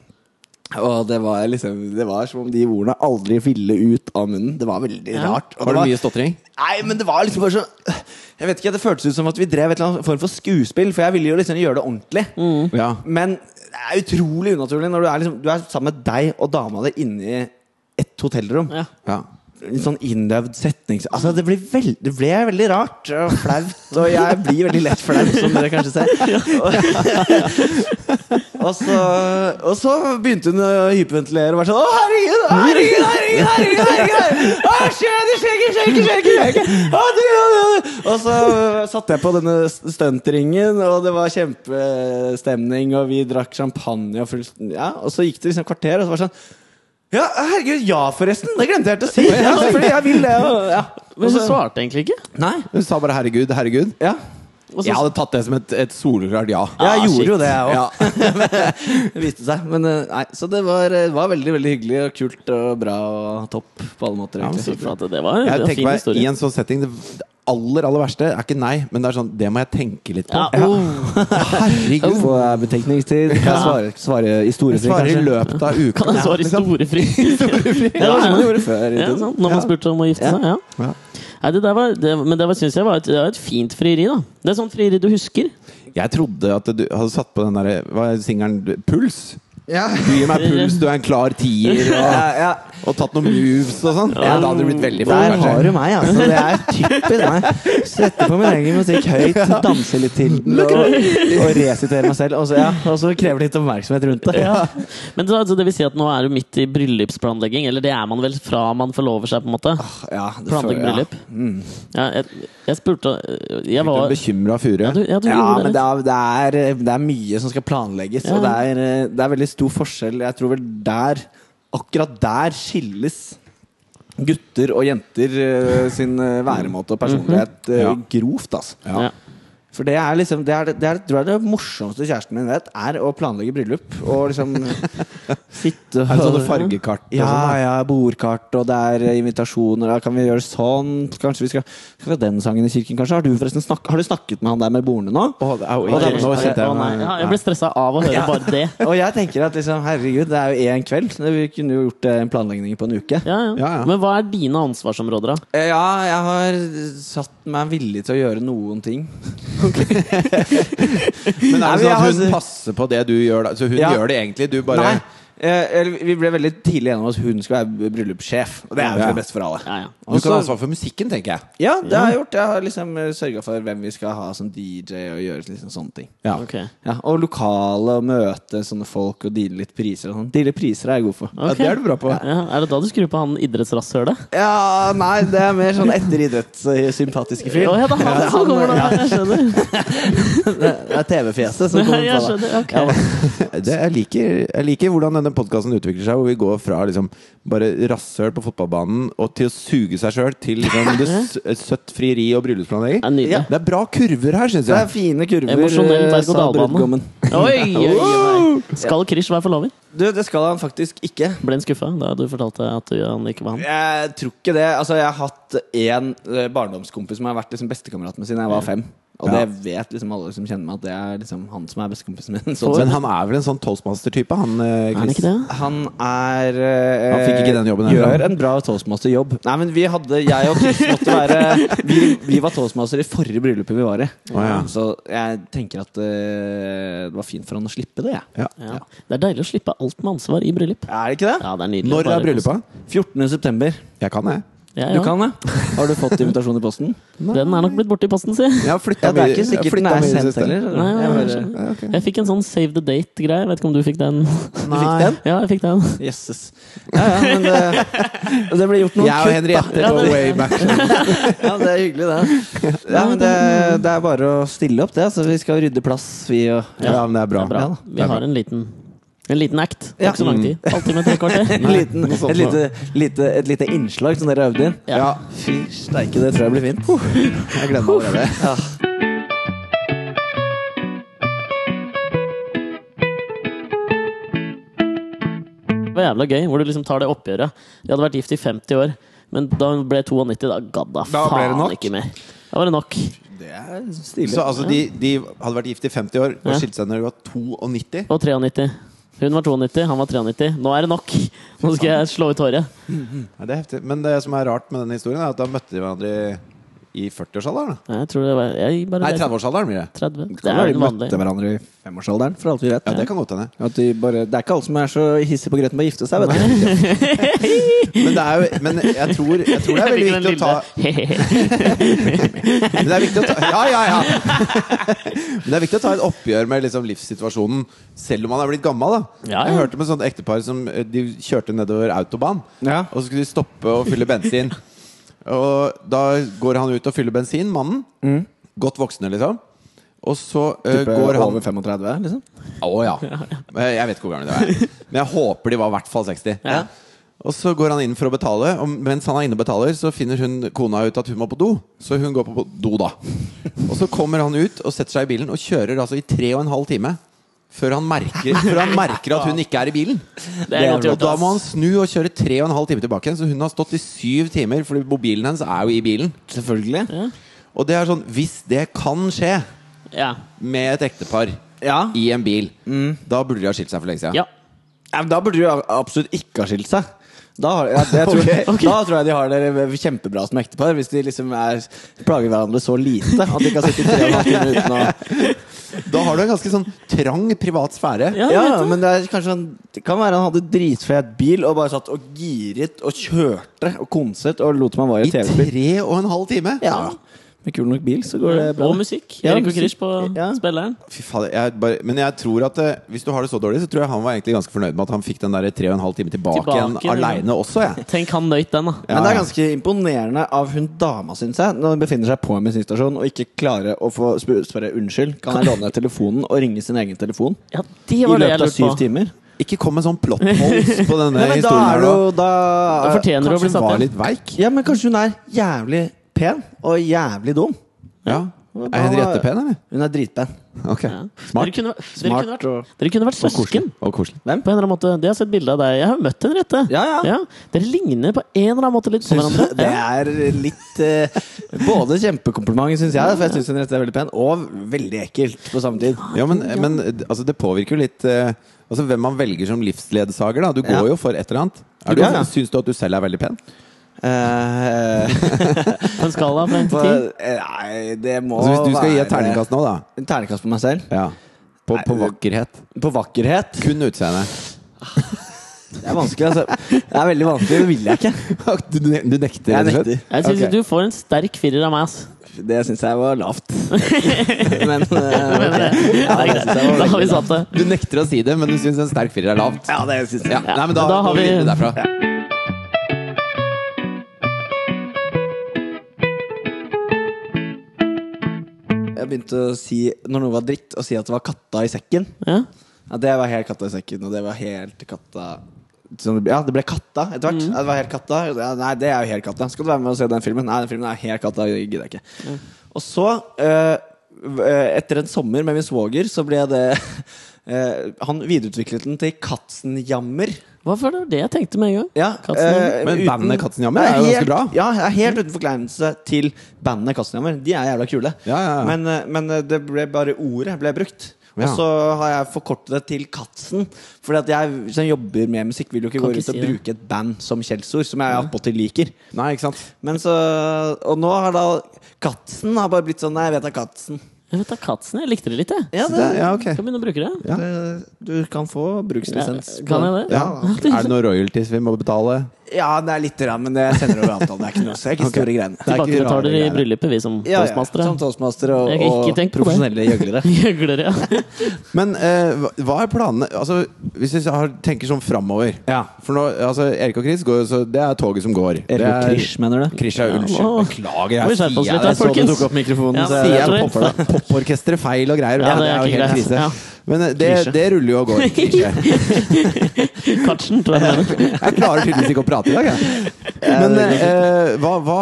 og det var liksom Det var som om de ordene aldri ville ut av munnen. Det var veldig Ja. rart. Og Var det var- mye stotring? Nei, men det var liksom bare sånn Jeg vet ikke, det føltes ut som at vi drev et eller annet form for skuespill, for jeg ville jo liksom gjøre det ordentlig. Ja. Men det er utrolig unaturlig når du er, liksom, du er sammen med deg og dama di inni et hotellrom. Ja. ja. En sånn innøvd setning Altså, det, blir veld, det ble veldig rart og flaut. Og jeg blir veldig lett flau, som dere kanskje ser. Og, og, så, og så begynte hun å hyperventilere og var sånn Å, herregud, herregud, herregud! herregud, herregud, herregud. Å, skjer det, skjer det, skjer det, skjer det, skjer det, skjer det. Å, du, å, du, å». Og så satte jeg på denne st- stuntringen, og det var kjempestemning, og vi drakk champagne og full Ja, og så gikk det liksom et kvarter, og så var det sånn ja, herregud, ja forresten! Det glemte jeg helt å si! Ja, fordi jeg vil det. og- Ja. Men hun Og så- svarte egentlig ikke. Nei. Hun sa bare 'herregud, herregud'. Ja. Og så Jeg hadde tatt det som et, et soleklart ja. Jeg Ah, gjorde shit. jo det, jeg òg. Ja. Det viste seg. Men eh, nei, så det var, eh, var veldig veldig hyggelig og kult og bra og topp på alle måter. Ja, men Fy egentlig. flate, det var det Jeg var en tenker fin meg, I historie. en sånn setting Det det aller aller verste er ikke nei, men det er sånn Det må jeg tenke litt på. Ja, oh. Herregud. Får jeg eh, betenkningstid? Kan jeg svare, svare i store Jeg svarer i løpet av uka. Kan jeg svare liksom. i storefri? Det var sånn man gjorde før. i Ja, tiden. sant? Når man spurte om å gifte seg. Ja. Ja. Nei, det der var, det, men det var, synes jeg var et, det var et fint frieri. da Det er sånn frieri du husker. Jeg trodde at du hadde satt på den derre Hva er singelen? Puls? Ja. Du gir meg puls, du er en klar tier, Ja, og, ja. og tatt noen moves og sånn. Ja, da hadde du blitt veldig flau, Der har kanskje. du meg, altså. Det er typisk meg. Sette på min egen musikk høyt, danse litt til den og, og resitere meg selv. Og så, ja, og så krever det litt oppmerksomhet rundt det. Men så, altså, det vil si at nå er du midt i bryllupsplanlegging, eller det er man vel fra man forlover seg, på en måte. Ja, det får- Planlegge ja. bryllup. Ja, jeg, jeg spurte eh, Jeg var Bekymra furu. Ja, du, ja, du Ja, gjorde men det. det er, det, er, det er mye som skal planlegges, og det Ja. er, eh, det er veldig stor forskjell. Jeg tror vel der Akkurat der skilles gutter og jenter eh, sin eh, væremåte og personlighet eh, Ja. grovt, altså. Mhm. Ja. Ja. For det er liksom Det er det, er, tror jeg det morsomste kjæresten min vet, er å planlegge bryllup. Og liksom sitte Er det sånn sånne fargekart? og ja, sånn, da? ja, bordkart, og det er eh, invitasjoner. Da kan vi gjøre sånn? Kanskje vi skal Skal vi ha den sangen i kirken, kanskje? Har du forresten snak, Har du snakket med han der med bordene nå? Å, det er jo Og Å, ikke- det den- nå var- kjente jeg å, nei. meg- Ja, jeg ble stressa av å høre bare det. Og jeg tenker at liksom, herregud, det er jo én kveld. Vi kunne jo gjort eh, en planlegging på en uke. Ja, ja. Ja, ja. Men hva er dine ansvarsområder, da? Eh, Ja, jeg har satt meg villig til å gjøre noen ting. Men er Nei, det sånn men jeg har- altså- at hun sånn passer på det du gjør da? Så hun Ja. gjør det egentlig, du bare Nei, eh, eller Vi ble veldig tidlig enige om at hun skal være bryllupssjef. Og det er jo Ja. det beste for alle. Ja, ja. Du Også- kan ha ansvar for musikken, tenker jeg. Ja, det har jeg gjort. Jeg har liksom sørga for hvem vi skal ha som DJ, og gjøre liksom sånne ting. Ja. Ok. Ja, og lokale, og møte sånne folk, og deale litt priser og sånn. Deale priser er jeg god for. Ja, det er du bra på. Ja, er det da du skrur på han idrettsrasshølet? Ja, nei, det er mer sånn etter idrettssympatiske fyr. Å ja, det er han som kommer da! Jeg skjønner. Det er TV-fjeset som kommer Jeg på deg. skjønner. Ok. Det, jeg, liker, jeg liker hvordan denne podkasten utvikler seg, hvor vi går fra liksom bare rasshøl på fotballbanen og til å suge seg sjøl til liksom det s- søtt frieri og bryllupsplanlegging. Det er nydelig. Ja. Det er bra kurver her, syns Det er jeg. fine kurver. Emosjonell eh, sa berg-og-dal-bane. brudgommen. Oi, oi, oi. Skal Krish være forlover? Du, det skal han faktisk ikke. Ble han skuffa da du fortalte at du, han ikke var han? Jeg tror ikke det. Altså, jeg har hatt én eh, barndomskompis som har vært liksom bestekameraten min siden jeg var fem. Og Ja. det vet liksom alle som kjenner meg, at det er liksom han som er bestekompisen min. Sånn Men sett. han er vel en sånn toastmaster-type, han eh, Er han Chris. ikke det? Han er eh, Han fikk ikke den jobben heller, Gjør han. en bra toastmasterjobb. Nei, men vi hadde Jeg og Chris måtte være Vi, vi var toastmaster i forrige bryllupet vi var i. ja. Så jeg tenker at eh, det var fint for han å slippe det, jeg. Ja. Ja. Det er deilig å slippe alt med ansvar i bryllup. Er det ikke det? Ja, det er nydelig. Når Bare- er bryllupet? 14. september. Jeg kan det. Ja, Du ja. kan det? Har du fått invitasjon i posten? Den er nok blitt borti posten, si. Jeg har flytta Ja, det er ikke sikkert den er sendt heller. Nei, nei, nei, Jeg bare- jeg, jeg fikk en sånn save the date-greie. Vet ikke om du fikk den? Du fikk den? Ja, jeg fikk den. Jesses. Ja, ja, men det, det ble gjort noen Jeg og kutt, da. Henriette Ja, på det- Wayback. Ja, det er hyggelig, det. Ja, men det, det er bare å stille opp, det. Altså, vi skal rydde plass, vi og Ja. Ja, men det er Det bra. er bra. Ja, da. Vi har en liten, en liten act. Det Ja. er ikke så lang tid. Halvtime, tre kvarter. En liten, noe sånt et, lite, lite, et lite innslag som dere øvde inn. Ja. Fy steike, det tror jeg blir fint. Jeg gleder meg allerede. Ja. Det var jævla gøy, hvor du liksom tar det oppgjøret. Jeg hadde vært gift i 50 år, men da hun ble 92, da gadd da Da ble det faen nok. ikke mer. Da var det nok. Det er Stilig. Så altså, de, de hadde vært gift i 50 år og Ja. skilte seg når de var 92. Og 93. Hun var 92, han var 93. Nå er det nok! Nå skal jeg slå ut håret. Ja, det er heftig. Men det som er rart med den historien, er at da møtte de hverandre i, i 40-årsalderen. da. Nei, Jeg tror det var jeg bare Nei, 30-årsalderen blir det. 30. Det Det er den vanlige. hverandre i femårsalderen, for alt vi vet. Ja, det kan godt hende. At de bare, det er ikke alle som er så hissige på grøten med å gifte seg, vet du. Men, det er jo, men jeg, tror, jeg tror det er veldig viktig å ta ta Men det er viktig å ta Ja, ja, ja! Men det er viktig å ta et oppgjør med liksom livssituasjonen, selv om man er blitt gammel. da Ja, ja. Jeg hørte om et sånt ektepar som eh, de kjørte nedover autobahn, Ja. og så skulle de stoppe og fylle bensin. Og da går han ut og fyller bensin, mannen. Mm. Godt voksne, liksom. Og så eh, går han over 35, liksom. Å ja. Men Jeg vet ikke hvor gamle de er. Men jeg håper de var i hvert fall 60. Ja. Og så går han inn for å betale, og mens han er inne og betaler, så finner hun kona ut at hun må på do. Så hun går på do, da. Og så kommer han ut og setter seg i bilen og kjører altså i tre og en halv time. Før han, merker, før han merker at hun ikke er i bilen. Det er godt Og gjort, da må han ass. snu og kjøre tre og en halv time tilbake igjen. Så hun har stått i syv timer, fordi mobilen hennes er jo i bilen. Selvfølgelig. Og det er sånn, hvis det kan skje Ja. med et ektepar Ja. i en bil, Mm. da burde de ha skilt seg for lenge siden. ja. Ja, men da burde du jo absolutt ikke ha skilt seg. Da, har, jeg, jeg tror, Ok, ok. da tror jeg de har det kjempebra som ektepar, hvis de liksom er, plager hverandre så lite at de kan sitte i tre og en halv time uten å Da har du en ganske sånn trang privat sfære. Ja, Ja, jeg vet det. men det, er kanskje han, det kan være han hadde dritfet bil og bare satt og giret og kjørte og konset og lot som han var i I TV-spill. tre og en halv time? Ja. Med kul nok bil, så går det bra. Og musikk. Ja, Erik og Krish på Ja. spilleren. Fy fader, jeg bare, men jeg tror at eh, hvis du har det så dårlig, så tror jeg han var egentlig ganske fornøyd med at han fikk den der tre og en halv time tilbake, Tilbake, igjen aleine også, jeg. Tenk han nøyt den, da. Men Ja, det er ja. ganske imponerende av hun dama, syns jeg, når hun befinner seg på en bensinstasjon og ikke klarer å få sp spørre unnskyld, kan jeg låne telefonen og ringe sin egen telefon Ja, det i var det jeg løpet av syv lurte på. timer? Ikke kom med sånn plot holes på denne Nei, men da historien. er her det nå. jo da, Da fortjener du å Kanskje bli hun satt var igjen. litt veik? Ja, men kanskje hun er jævlig pen og jævlig dum. Ja. Da- Er Henriette pen, eller? Hun er dritpen. Ok. Ja. Dere Smart kunne, vært- dere Smart kunne vært, og- dere kunne vært og koselig. søsken. Og koselig. Hvem? På en eller annen måte. De har sett bilde av deg. Jeg har møtt henne, Rette. Ja, ja. Dere ligner på en eller annen måte litt på hverandre. Det er litt eh, Både kjempekompliment, syns jeg, for jeg syns Henriette er veldig pen, og veldig ekkelt på samme tid. Ja, men, men altså, det påvirker jo litt eh, Altså hvem man velger som livsledsager, da. Du går Ja. jo for et eller annet. Er du, Ja, ja. Syns du at du selv er veldig pen? Eh, På en skala fra en på, til ti. eh, nei, det må Altså, hvis du skal gi et være- terningkast nå, da. En terningkast på meg selv. Ja. På, Nei, på det- vakkerhet. På vakkerhet. Kun utseende. Det er vanskelig, altså. Det er veldig vanskelig, det vil jeg ikke. Du, ne- du nekter, Jeg rett og slett? nekter. Jeg syns Ok. du får en sterk firer av meg, ass. Det syns jeg var lavt. Men eh, ok. ja, Det er det greit. Da har vi synes jeg var veldig lavt. satt det. Du nekter å si det, men du syns en sterk firer er lavt? Ja, det syns jeg. Ja. Nei, men da, Da har går vi vi- videre derfra. Jeg begynte å si, når noe var dritt, å si at det var katta i sekken. Ja. Ja, det var helt katta i sekken, og det var helt katta sånn det ble, Ja, det ble katta etter hvert. Ja, det var helt katta. Ja, nei, det er jo helt katta. Skal du være med og se den filmen? Nei, den filmen er helt katta. Jeg gidder ikke. Og så, eh, v- eh, etter en sommer med min svoger, så ble det eh, Han videreutviklet den til Katzenjammer. Hva var det det jeg tenkte med en gang? Ja, Katzenjammer. eh, Men uten- bandet Katzenjammer er jo Nei, ganske helt- bra. Ja, jeg er helt uten forkleinelse til bandet Katzenjammer. De er jævla kule. Ja, ja, ja. Men, eh, men eh, det ble bare ordet ble brukt. Ja. Og så har jeg forkortet det til Katzen. Fordi at jeg som jobber med musikk, vil jo ikke Kan gå ikke ut og si det. bruke et band som skjellsord, som jeg attpåtil liker. Nei, ikke sant? Men så, og nå har da Katzen har bare blitt sånn Nei, jeg vet da Katzen. Jeg vet da, Katzen. Jeg likte det litt, jeg. Ja, Så det, det, ja, ok. Skal begynne å bruke det. ja. det, du kan få brukslisens. på Kan jeg den. det? Ja. Ja, det er Er det noen royalties vi må betale? Ja, det er litt, rann, men det sender over avtalen. Det er ikke noe så det er ikke store greiene. Det er ikke Tilbakebetaler i rare greier. sånn, bryllupet, vi som Ja, ja, postmastere. Som toastmaster og, Jeg har ikke og tenkt på det. profesjonelle gjøglere. Gjøgler, ja. Men eh, hva- hva er planene Altså, Hvis vi har, tenker sånn framover Ja. For nå, altså, Erik og Chris går jo så Det er toget som går. Erik og Krish, mener du? Krish, ja, unnskyld. nå- Beklager. må vi Jeg skjerpe oss sier litt jeg da, så du folkens. tok opp mikrofonen. Ja, så sier jeg jeg popper- det. popporkesteret feil og greier. Ja, det, det er er jo ikke helt greit. krise. Ja. Men eh, det, Krisje. det ruller jo og går. Krisje. Katsen, tror jeg. det er. Jeg klarer tydeligvis ikke å prate i dag, jeg. Men eh, hva, hva,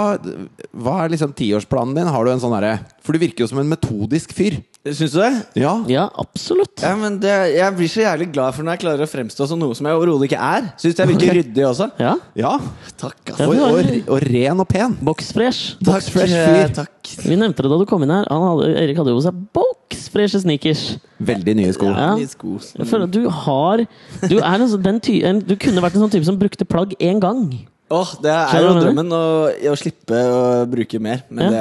hva er liksom tiårsplanen din? Har du en sånn herre For du virker jo som en metodisk fyr. Syns du det? Ja. Ja, absolutt. Ja, men det, Jeg blir så jævlig glad for når jeg klarer å fremstå som noe som jeg overhodet ikke er. Syns jeg virker ryddig også. Ja. ja. Takk, ass. Og, og, og ren og pen. Boxfresh. Boxfresh eh, fyr. takk. Vi nevnte det da du kom inn her. Han hadde, Erik hadde jo på seg boxfreshe sneakers. Veldig nye sko. Ja. Litt sko. Jeg føler at du har Du, er en, sånn- den ty, en, du kunne vært en sånn type som brukte plagg én gang. Åh, det er Skjønner du jo hva jeg drømmen å, å slippe å bruke mer. Men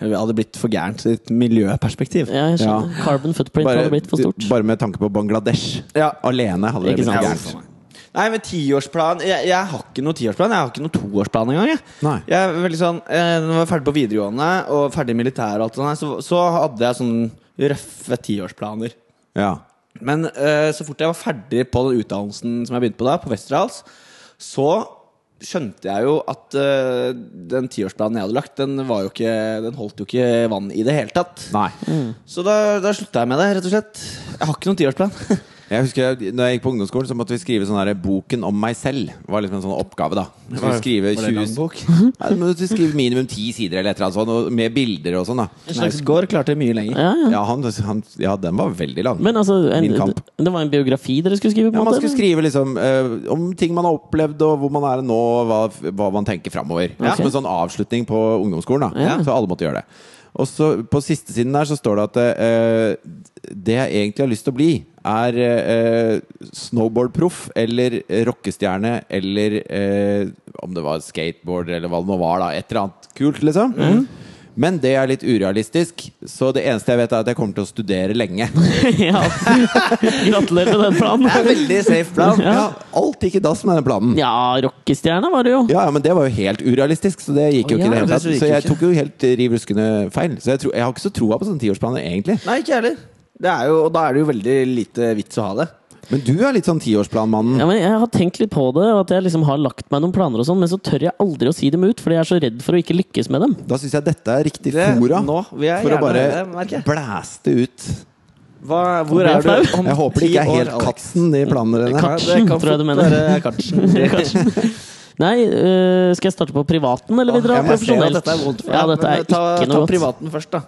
det hadde blitt for gærent i et miljøperspektiv. Ja, jeg skjønner. Carbon footprint hadde blitt for stort. bare med tanke på Bangladesh. Ja. Alene hadde det Ikke blitt sant. gærent. Nei, men tiårsplan jeg, jeg har ikke noe tiårsplan. Jeg har ikke noe toårsplan engang. Jeg. Nei. Jeg er veldig sånn eh, Når jeg var ferdig på videregående og ferdig i militæret, og alt sånt, her, så, så hadde jeg sånn røffe tiårsplaner. Ja. Men eh, så fort jeg var ferdig på den utdannelsen som jeg begynte på da, på Westerdals, så skjønte jeg jo at eh, den tiårsplanen jeg hadde lagt, den, var jo ikke, den holdt jo ikke vann i det hele tatt. Nei. Mm. Så da, da slutta jeg med det, rett og slett. Jeg har ikke noen tiårsplan. Jeg husker Når jeg gikk på ungdomsskolen, Så måtte vi skrive sånn her 'Boken om meg selv'. Det var liksom en sånn oppgave, da. Så vi skrive Var det 20 langbok? Nei, du måtte skrive minimum ti sider eller et eller annet sånt, og med bilder og sånn, da. En slags gård klarte mye lenger. Ja, ja. Ja, han, han, ja, den var veldig lang. Men altså, en, Min kamp. det var en biografi dere skulle skrive? på ja, en man måte? skulle eller? skrive liksom eh, om ting man har opplevd, og hvor man er nå, og hva, hva man tenker framover. Ja. Som en sånn avslutning på ungdomsskolen. da Ja. Så alle måtte gjøre det. Og så på siste siden der så står det at eh, det jeg egentlig har lyst til å bli, er eh, snowboardproff eller rockestjerne eller eh, om det var skateboarder eller hva det nå var, da. Et eller annet kult, liksom. Men det er litt urealistisk, så det eneste jeg vet, er at jeg kommer til å studere lenge. ja. Gratulerer med den planen. Veldig safe plan. Ja, alt gikk i dass med den planen. Ja, rockestjerne var det jo. Ja, ja, men det var jo helt urealistisk, så det gikk jo Å, ikke i ja, det hele det tatt. så gikk Så jo jeg ikke. tok jo helt eh, riv ruskende feil. Så jeg, tror, jeg har ikke så troa på sånne tiårsplaner, egentlig. Nei, ikke jeg heller. Det er jo, og da er det jo veldig lite vits å ha det. Men du er litt sånn tiårsplanmannen. Ja, men jeg har tenkt litt på det, og at jeg liksom har lagt meg noen planer, og sånn, men så tør jeg aldri å si dem ut, fordi jeg er så redd for å ikke lykkes med dem. Da syns jeg dette er riktig Det- fora nå vil jeg for å gjerne bare høre det, merker jeg. blæste ut. Hva, hvor Jeg er ble du om Jeg håper det ti ikke er år, helt Alex? katten, de planene dine. Katt. Kartsen, tror jeg du mener. Være Kartsen. Kanskje. Nei, øh, skal jeg starte på privaten, eller vil dere Åh, ha jeg ser at profesjonelt? Dette er vondt for deg. ja, dette er men eh, ta, ikke ta noe godt. privaten først, da.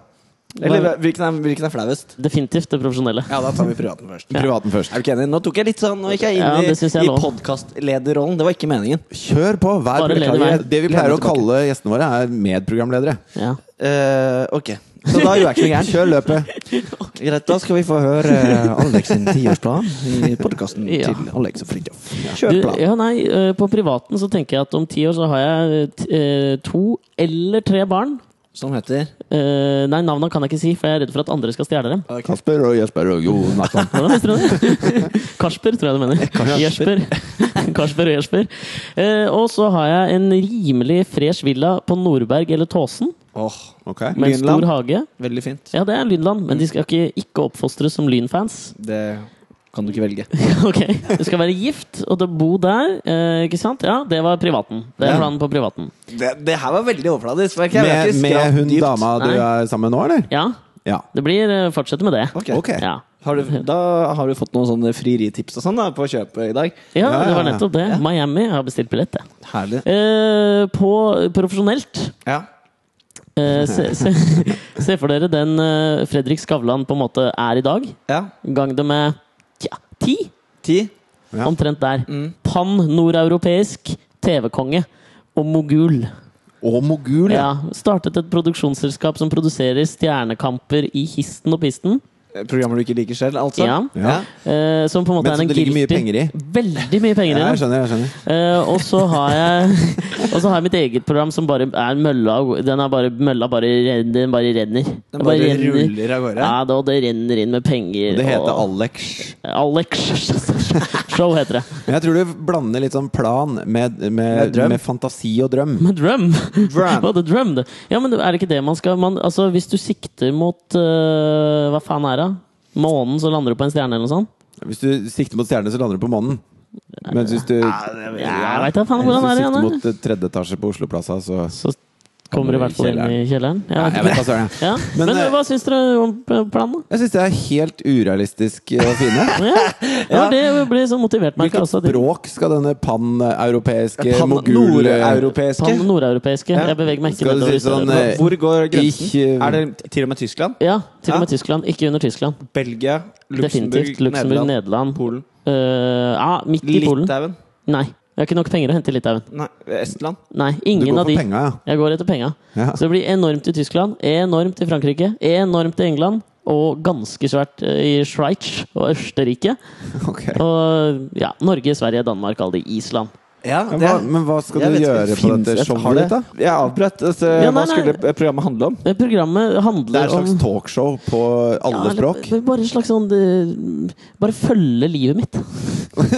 Eller eh, hvilken er, hvilken er flauest? Definitivt det profesjonelle. Ja, da tar vi privaten først. Privaten først. Er du ikke enig? Nå tok jeg litt sånn Nå gikk jeg inn Ja, i, det synes jeg er i lov. podcastlederrollen. Det var ikke meningen. Kjør på. Vær Bare leder beklager. veien. Det vi pleier Leder å kalle gjestene våre, er medprogramledere. Ja. Eh, ok, så da gjorde jeg ikke noe gærent. Kjør løpet. Greit, da skal vi få høre eh, Alex sin tiårsplan i podkasten Ja. til Alex og Fridtjof. Du, Kjør plan. ja, nei, øh, på privaten så tenker jeg at om ti år så har jeg øh, t- øh, to eller tre barn. som heter Eh, nei, navnene kan jeg ikke si, for jeg er redd for at andre skal stjele dem. Kasper og Jesper og Jonathan. Hva visste du det? Kasper, tror jeg du mener. Kasper. Jesper. Kasper og Jesper. Eh, og så har jeg en rimelig fresh villa på Nordberg eller Tåsen, Åh, Ok. med en stor Lynland. hage. Veldig fint. Ja, det er Lynland, men de skal ikke, ikke oppfostres som Lynfans. Det kan du ikke velge. Ok, Du skal være gift og da bo der, eh, ikke sant? Ja, det var privaten. Det er Ja. planen på privaten. Det, det her var veldig overfladisk. merker jeg. Vi har Med, ikke med skrapt hun dypt. dama du Nei. er sammen med nå, eller? Ja, Ja. det blir eh, Fortsette med det. Ok. Ok. Ja. Har du, da har du fått noen sånne frieritips og sånn da, på kjøpet i dag. ja, Ja, det var ja, ja. nettopp det. Miami har bestilt billett, jeg. Herlig. Eh, på profesjonelt Ja. Eh, se, se, se for dere den eh, Fredrik Skavlan på en måte er i dag. ja. Gang det med tja, ti, Ti. Ja. omtrent der. Pan-nordeuropeisk TV-konge og mogul. Og mogul, ja. Ja, startet et produksjonsselskap som produserer stjernekamper i histen og pisten. Programmer du ikke liker selv, altså. Ja. Ja. eh, som på en måte Men er som en det ligger mye guilty- penger i. Veldig mye penger i Ja, det. jeg skjønner. jeg skjønner Eh, og så har jeg Og så har jeg mitt eget program som bare er mølla Den er bare mølla bare renner. Den bare renner. Den bare renner. ruller av gårde. Ja, da, det renner inn med penger. Det heter og- Alex. Alex Show heter det. Men jeg tror du blander litt sånn plan med, Med med, drøm. med fantasi og drøm. Med drum. Drum. Hva, det drum det. Ja, men er det ikke det man skal man, Altså, Hvis du sikter mot eh, Hva faen er det? Månen, så lander du på en stjerne eller noe sånt? Hvis du sikter mot stjernene, så lander du på månen. Mens hvis du, Ja, det er veldig- Ja, jeg vet da faen hvis hvordan du er det sikter igjen. mot eh, tredje etasje på Osloplaza, så da? Så kommer du i hvert fall inn i kjelleren. Ja, Jeg vet hva søren jeg ja. Men, Men, eh, hva syns dere om eh, planen? da? Jeg syns det er helt urealistisk eh, og fine. Ja, ja det ble så motivert meg. Hvilket Altså, de språk skal denne pan-europeiske Pan- mogul eh, Nordeuropeiske. pan- nordeuropeiske. Ja. Jeg beveger meg ikke Skal du nedover. i si sånn, stedet. eh, Hvor går grensen? Ikke- Er det til og med Tyskland? Ja, til ja. og med Tyskland. Ikke under Tyskland. Belgia? Luxembourg? Definitivt. Luxembourg, Nederland? Nederland. Polen? Eh, ja, midt i Polen. Litauen? Nei. Jeg har ikke nok penger å hente i Litauen. Nei, Estland? Nei, Du ingen går av de. for penga, ja. Jeg går etter penga. Ja. Så det blir enormt i Tyskland, enormt i Frankrike, enormt i England. Og ganske svært eh, i Sveits og Østerrike. Ok. Og ja, Norge, Sverige, Danmark, alle de. Island. Ja, Men hva, men hva skal du gjøre på dette showet ditt, da? Jeg avbrøt. Altså, Ja, nei, hva nei. skulle programmet handle om? Det programmet Det er handler et om slags talkshow på alle eller språk. b- Bare en slags sånn det- Bare følge livet mitt.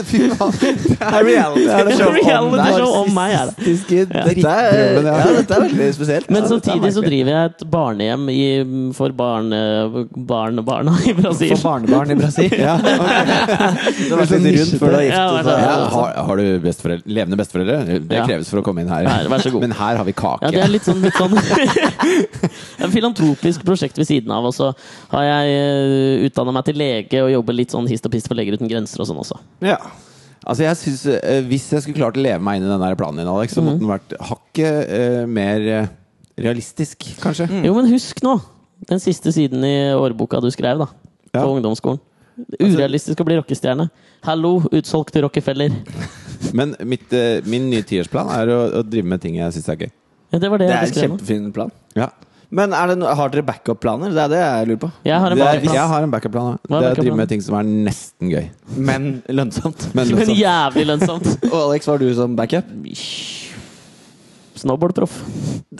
Fy faen, det er reality show om Reality deg. show om meg er det. Narsissistiske Dette er, drittdrømmen jeg ja, har. dette er veldig spesielt. Men ja, dette er samtidig så merkelig. driver jeg et barnehjem i, for eh, barne, barnebarna i Brasil. For barnebarn i Brasil. Ja, Du har vært sånn litt rundt før du har Ja, det er giftet deg. det. Ja, har, har du besteforeldre, levende besteforeldre? Det Ja. kreves for å komme inn her. Her, vær så god. Men her har vi kake. Ja, det er litt sånn, litt sånn En filantropisk prosjekt ved siden av. Og så har jeg utdanna meg til lege og jobber litt sånn hist og pist for Leger uten grenser og sånn også. Ja. Altså jeg synes, eh, Hvis jeg skulle klart å leve meg inn i den der planen din, Alex, så Mhm. måtte den vært hakket eh, mer eh, realistisk, kanskje. Mm. Jo, men husk nå den siste siden i årboka du skrev, da. På Ja. ungdomsskolen. Altså- Urealistisk å bli rockestjerne. Hallo, utsolgt til Rockefeller. Mm. Men mitt, eh, min nye tiårsplan er å, å drive med ting jeg syns er gøy. Ja, Det var det, Det er jeg skrev. en nå. kjempefin plan. Ja. Men er det no har dere backup-planer? Det er det jeg lurer på. Jeg har en Det er, backup-plan. jeg har en backup-plan. Hva ja. er Det er å backup-planen? drive med ting som er nesten gøy. Men lønnsomt. Men, Men liksom, jævlig lønnsomt. Og Alex, var du som backup? Snowboardproff.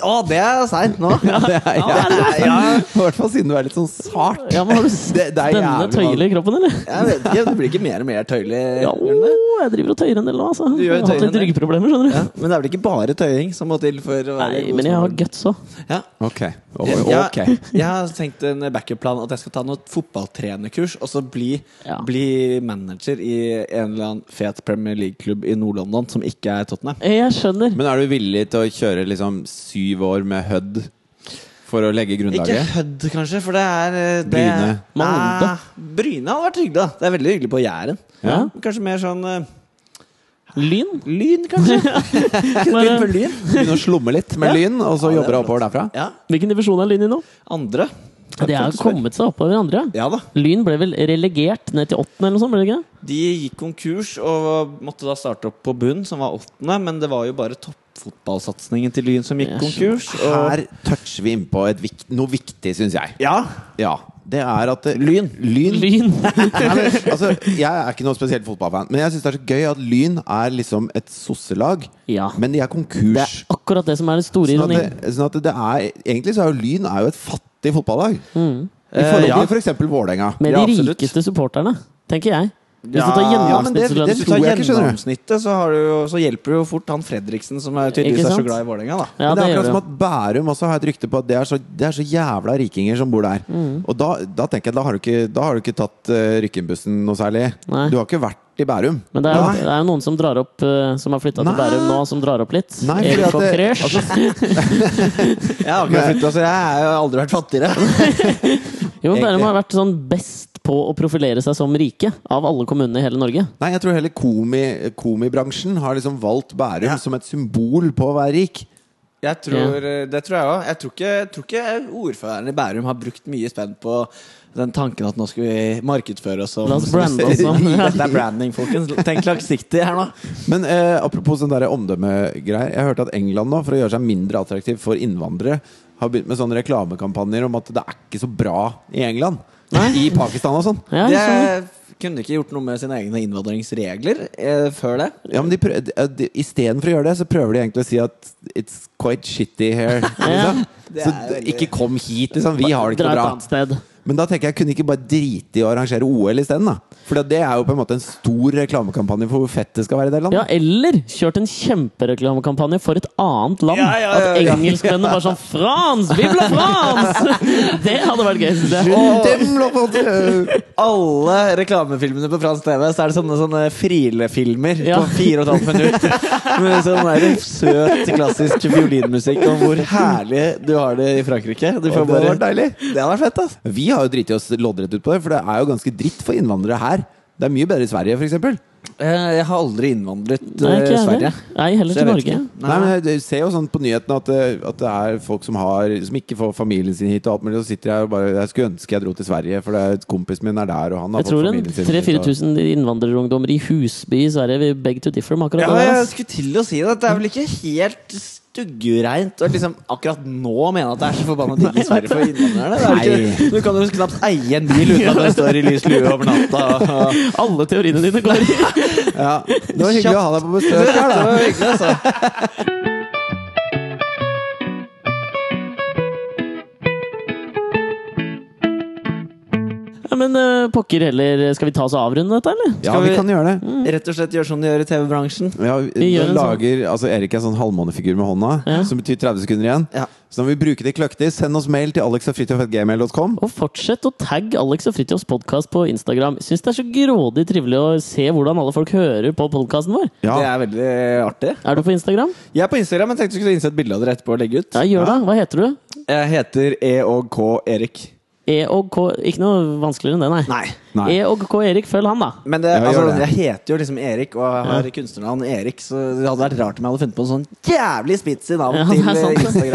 Å, det er seint nå! ja, det er, Ja, det er- ja. ja. I hvert fall siden du er litt sånn sart. Ja, men har du sett Det- det er denne jævlig Eh, tøyle i kroppen, eller? Jeg vet ikke, Det blir ikke mer og mer tøyelig? Ja, gjør det det? jeg driver og tøyer en del nå, altså. Du gjør Jeg har hatt tøyer en litt del. ryggproblemer, skjønner du. Ja, men det er vel ikke bare tøying som må til for å være Nei, men jeg har sånn- guts òg. har ja. Ok. Oh, Jeg, ok. jeg, jeg har tenkt en backup-plan at jeg skal ta noe fotballtrenerkurs og så bli, Ja. bli manager i en eller annen fet Premier League-klubb i Nord-London som ikke er Tottenham. Jeg skjønner. Men er du villig til å kjøre liksom syv år med HUD for å legge Ikke grunnlaget? Hødd, kanskje, for det er eh, det, Bryne. Molde. Nei, Bryne hadde vært hyggelig. da Det er veldig hyggelig på Jæren. Ja. Kanskje mer sånn eh, Lyn? Lyn, kanskje? Lyn på Bare- lyn? Begynne å slumme litt med lyn, og så Ja, det jobber er du oppover derfra? Ja. Hvilken divisjon er Lyn i nå? Andre. De har kommet seg opp over hverandre. Ja da. Lyn ble vel relegert ned til åttende eller noe sånt? ble det ikke? det? De gikk konkurs og måtte da starte opp på bunn, som var åttende. Men det var jo bare toppfotballsatsingen til Lyn som gikk Jeg konkurs. Og Her toucher vi innpå et vikt, noe viktig, syns jeg. ja, Ja. det er at eh, Lyn. Lyn Lyn. Nei, men, altså, jeg er ikke noe spesielt fotballfan, men jeg syns det er så gøy at Lyn er liksom et sosselag. Ja. Men de er konkurs. Det er akkurat det som er den store sånn at ironien. det, sånn at det er, egentlig så er jo Lyn er jo et fattig fotballag. I forhold Eh, ja. til for eksempel Vålerenga. Med Ja, de absolutt. rikeste supporterne, tenker jeg. Hvis Ja, du tar ja, men det- gjennomsnittslønn det- Hvis du tar tror jeg ikke, skjønner du. gjennomsnittet, så, har du, jo- så hjelper det jo fort han Fredriksen, som er tydeligvis Ikke er så sant? glad i Vålerenga. da. Ja, det men det er gjør akkurat det som jo. at Bærum også har et rykte på at det er så, det er så jævla rikinger som bor der. Mm. Og da, da tenker jeg at da har du ikke, da har du ikke tatt uh, Rykkenbussen noe særlig. Nei. Du har ikke vært i Bærum. Men det er, jo- Nei. det er jo noen som drar opp eh, Som har flytta til Nei. Bærum nå, som drar opp litt. Nei, fordi Erik at von det- altså, Kresch. Jeg har akkurat flyttet, så jeg har jo aldri vært fattigere. jo, men Bærum egentlig. har vært sånn best på å profilere seg som rike av alle kommunene i hele Norge. Nei, jeg tror hele komi, komibransjen har liksom valgt Bærum som et symbol på å være rik. Jeg tror, Det tror jeg òg. Jeg, tror ikke- jeg tror ikke ordføreren i Bærum har brukt mye spenn på den tanken at nå skal vi markedsføre oss som La oss brande oss som- Dette er branding, folkens. Tenk langsiktig her nå. Men eh, apropos sånn der omdømmegreier. Jeg hørte at England nå, for å gjøre seg mindre attraktiv for innvandrere, har begynt med sånne reklamekampanjer om at det er ikke så bra i England. I Pakistan og sånn. Ja, sånn. Det kunne ikke gjort noe med sine egne innvandringsregler eh, før det. Ja, men de prø- de- de- Istedenfor å gjøre det, så prøver de egentlig å si at it's quite shitty here. Liksom. Det Så er veldig- ikke kom hit, liksom. Vi har det ikke Dra noe et bra. annet sted. Men da tenker jeg, kunne de ikke bare drite i å arrangere OL isteden? For det er jo på en måte en stor reklamekampanje for hvor fett det skal være i det landet. Ja, eller kjørt en kjempereklamekampanje for et annet land. Ja, ja, ja, ja. At engelskmennene var sånn France! Vive la France! Det hadde vært gøy. synes jeg. Alle reklamefilmene på fransk TV Så er det sånne, sånne frilefilmer Ja. på fire og et halvt minutt. Med sånn der søt, klassisk fiolinmusikk om hvor herlig du har det i Frankrike. Å, Du får det hadde bare, vært deilig. Det hadde vært fett, ass. Vi har jo driti oss loddrett ut på det, for det er jo ganske dritt for innvandrere her. Det er mye bedre i Sverige, f.eks. Nei, Eh, Jeg har aldri innvandret Nei, eh, ikke jeg Sverige. heller. Nei, heller Så jeg til vet Norge. ikke. men Du ser jo sånn på nyhetene at, det- at det er folk som, har, som ikke får familien sin hit, og alt mulig, og så sitter jeg og bare Jeg skulle ønske jeg dro til Sverige, for det er, kompisen min er der, og han har Jeg tror fått en familien sin hit, og- 3000-4000 innvandrerungdommer i Husby i Sverige vil beg to differ med akkurat Ja, det. der, altså. jeg ass. skulle til å si det. Det er vel ikke helt stuggereint å liksom akkurat nå mene at det er så forbanna digg i Sverige for innvandrerne. Det er jo ikke, du kan jo knapt eie en bil uten at den står i lys lue over natta. Og, Alle teoriene dine går i Ja, det var hyggelig å ha deg på besøk her, da. Ja, men eh, pokker heller, skal vi ta oss og avrunde dette, eller? Ja, Skal vi vi- kan gjøre det. Rett og slett gjør som de gjør i TV-bransjen. Ja, gjør da en sånn- lager, altså Erik er en sånn halvmånefigur med hånda, Ja. som betyr 30 sekunder igjen. Ja. Så da må vi bruke det kløktig. Send oss mail til alexogfritjof.gmail.com. Og fortsett å tagge Alex og Fritjofs podkast på Instagram. Syns det er så grådig trivelig å se hvordan alle folk hører på podkasten vår. Ja. Det er veldig artig. Er du på Instagram? Jeg er på Instagram, men tenkte du skulle innse et bilde av dere etterpå og legge ut. Ja, gjør det. Hva heter du? Jeg heter E og K Erik. E og K Ikke noe vanskeligere enn det, nei. Nei. Nei. E og K Erik, følg han, da. Men det, Ja, altså, gjør det. jeg heter jo liksom Erik, og jeg har kunstnernavn Erik, så det hadde vært rart om jeg hadde funnet på en sånn jævlig spitsy navn Ja, det er til eh, sant. E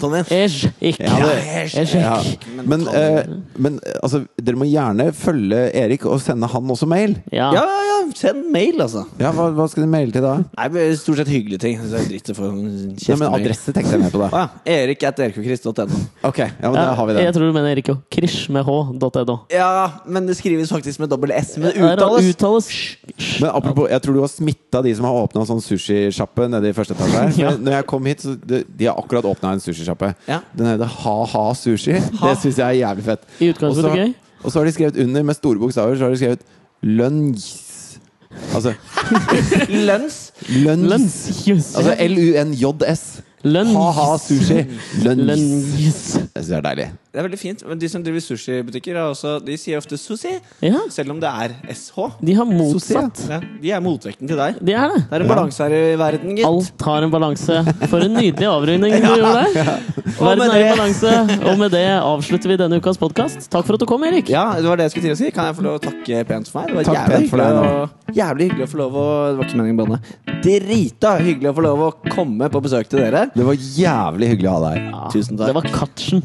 din. Ej, ikke. Ja, det- Ej, ikke. Ja. Men, eh, men eh, altså, dere må gjerne følge Erik og sende han også mail. Ja. Ja, ja, ja, send mail, altså. Ja, Hva, hva skal de maile til da? Nei, men Stort sett hyggelige ting. Så det er dritt å få en Nei, men kjeftemail. Adresse tenkte jeg mer på, da. Å ja. Erik at erikkogkrist.no. Ok, ja, men da har vi det. Jeg tror du mener Erik òg. Krish med h.no. Ja, men det skrives faktisk med dobbel S, men det Der er uttales. uttales. Men apropos, jeg tror du har smitta de som har åpna sånn sushisjappe nede i første etasje her. For Ja. Når jeg kom hit, så de, de har akkurat åpna en sushisjappe. Ja. Den heter Ha-Ha Sushi. Det syns jeg er jævlig fett. I utgangspunktet Og så- gøy. Og så har de skrevet under med store bokstaver Så har de skrevet Lønns. Altså Lønns. lønns. Lønns. Altså L-U-N-J-S. Lønns. Ha-Ha Sushi. Lønns. Lønns. Jeg syns det er deilig. Det er veldig fint. Men de som driver sushibutikker, er også- de sier ofte sushi, Ja, selv om det er SH. de har motsatt. Ja, de er motvekten til deg. De er det. Det er en balanse her i verden, gitt. Alt har en balanse. For en nydelig avrunding du gjorde der. Og Verden med er i det- balanse. Og med det avslutter vi denne ukas podkast. Takk for at du kom, Erik. Ja, det var det jeg skulle til å si. Kan jeg få lov å takke pent for meg? Det var Takk jævlig, pent for deg hyggelig å, jævlig hyggelig å få lov å Det var ikke meningen å banne. Drita hyggelig å få lov å komme på besøk til dere. Det var jævlig hyggelig å ha deg her. Ja, Tusen takk. Det var Katchen.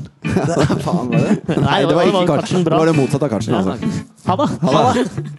Faen, var det? Nei, det var, det var Katchen Det bra. var det motsatte av Karsten. Ja. Altså. Ha det. Ha det.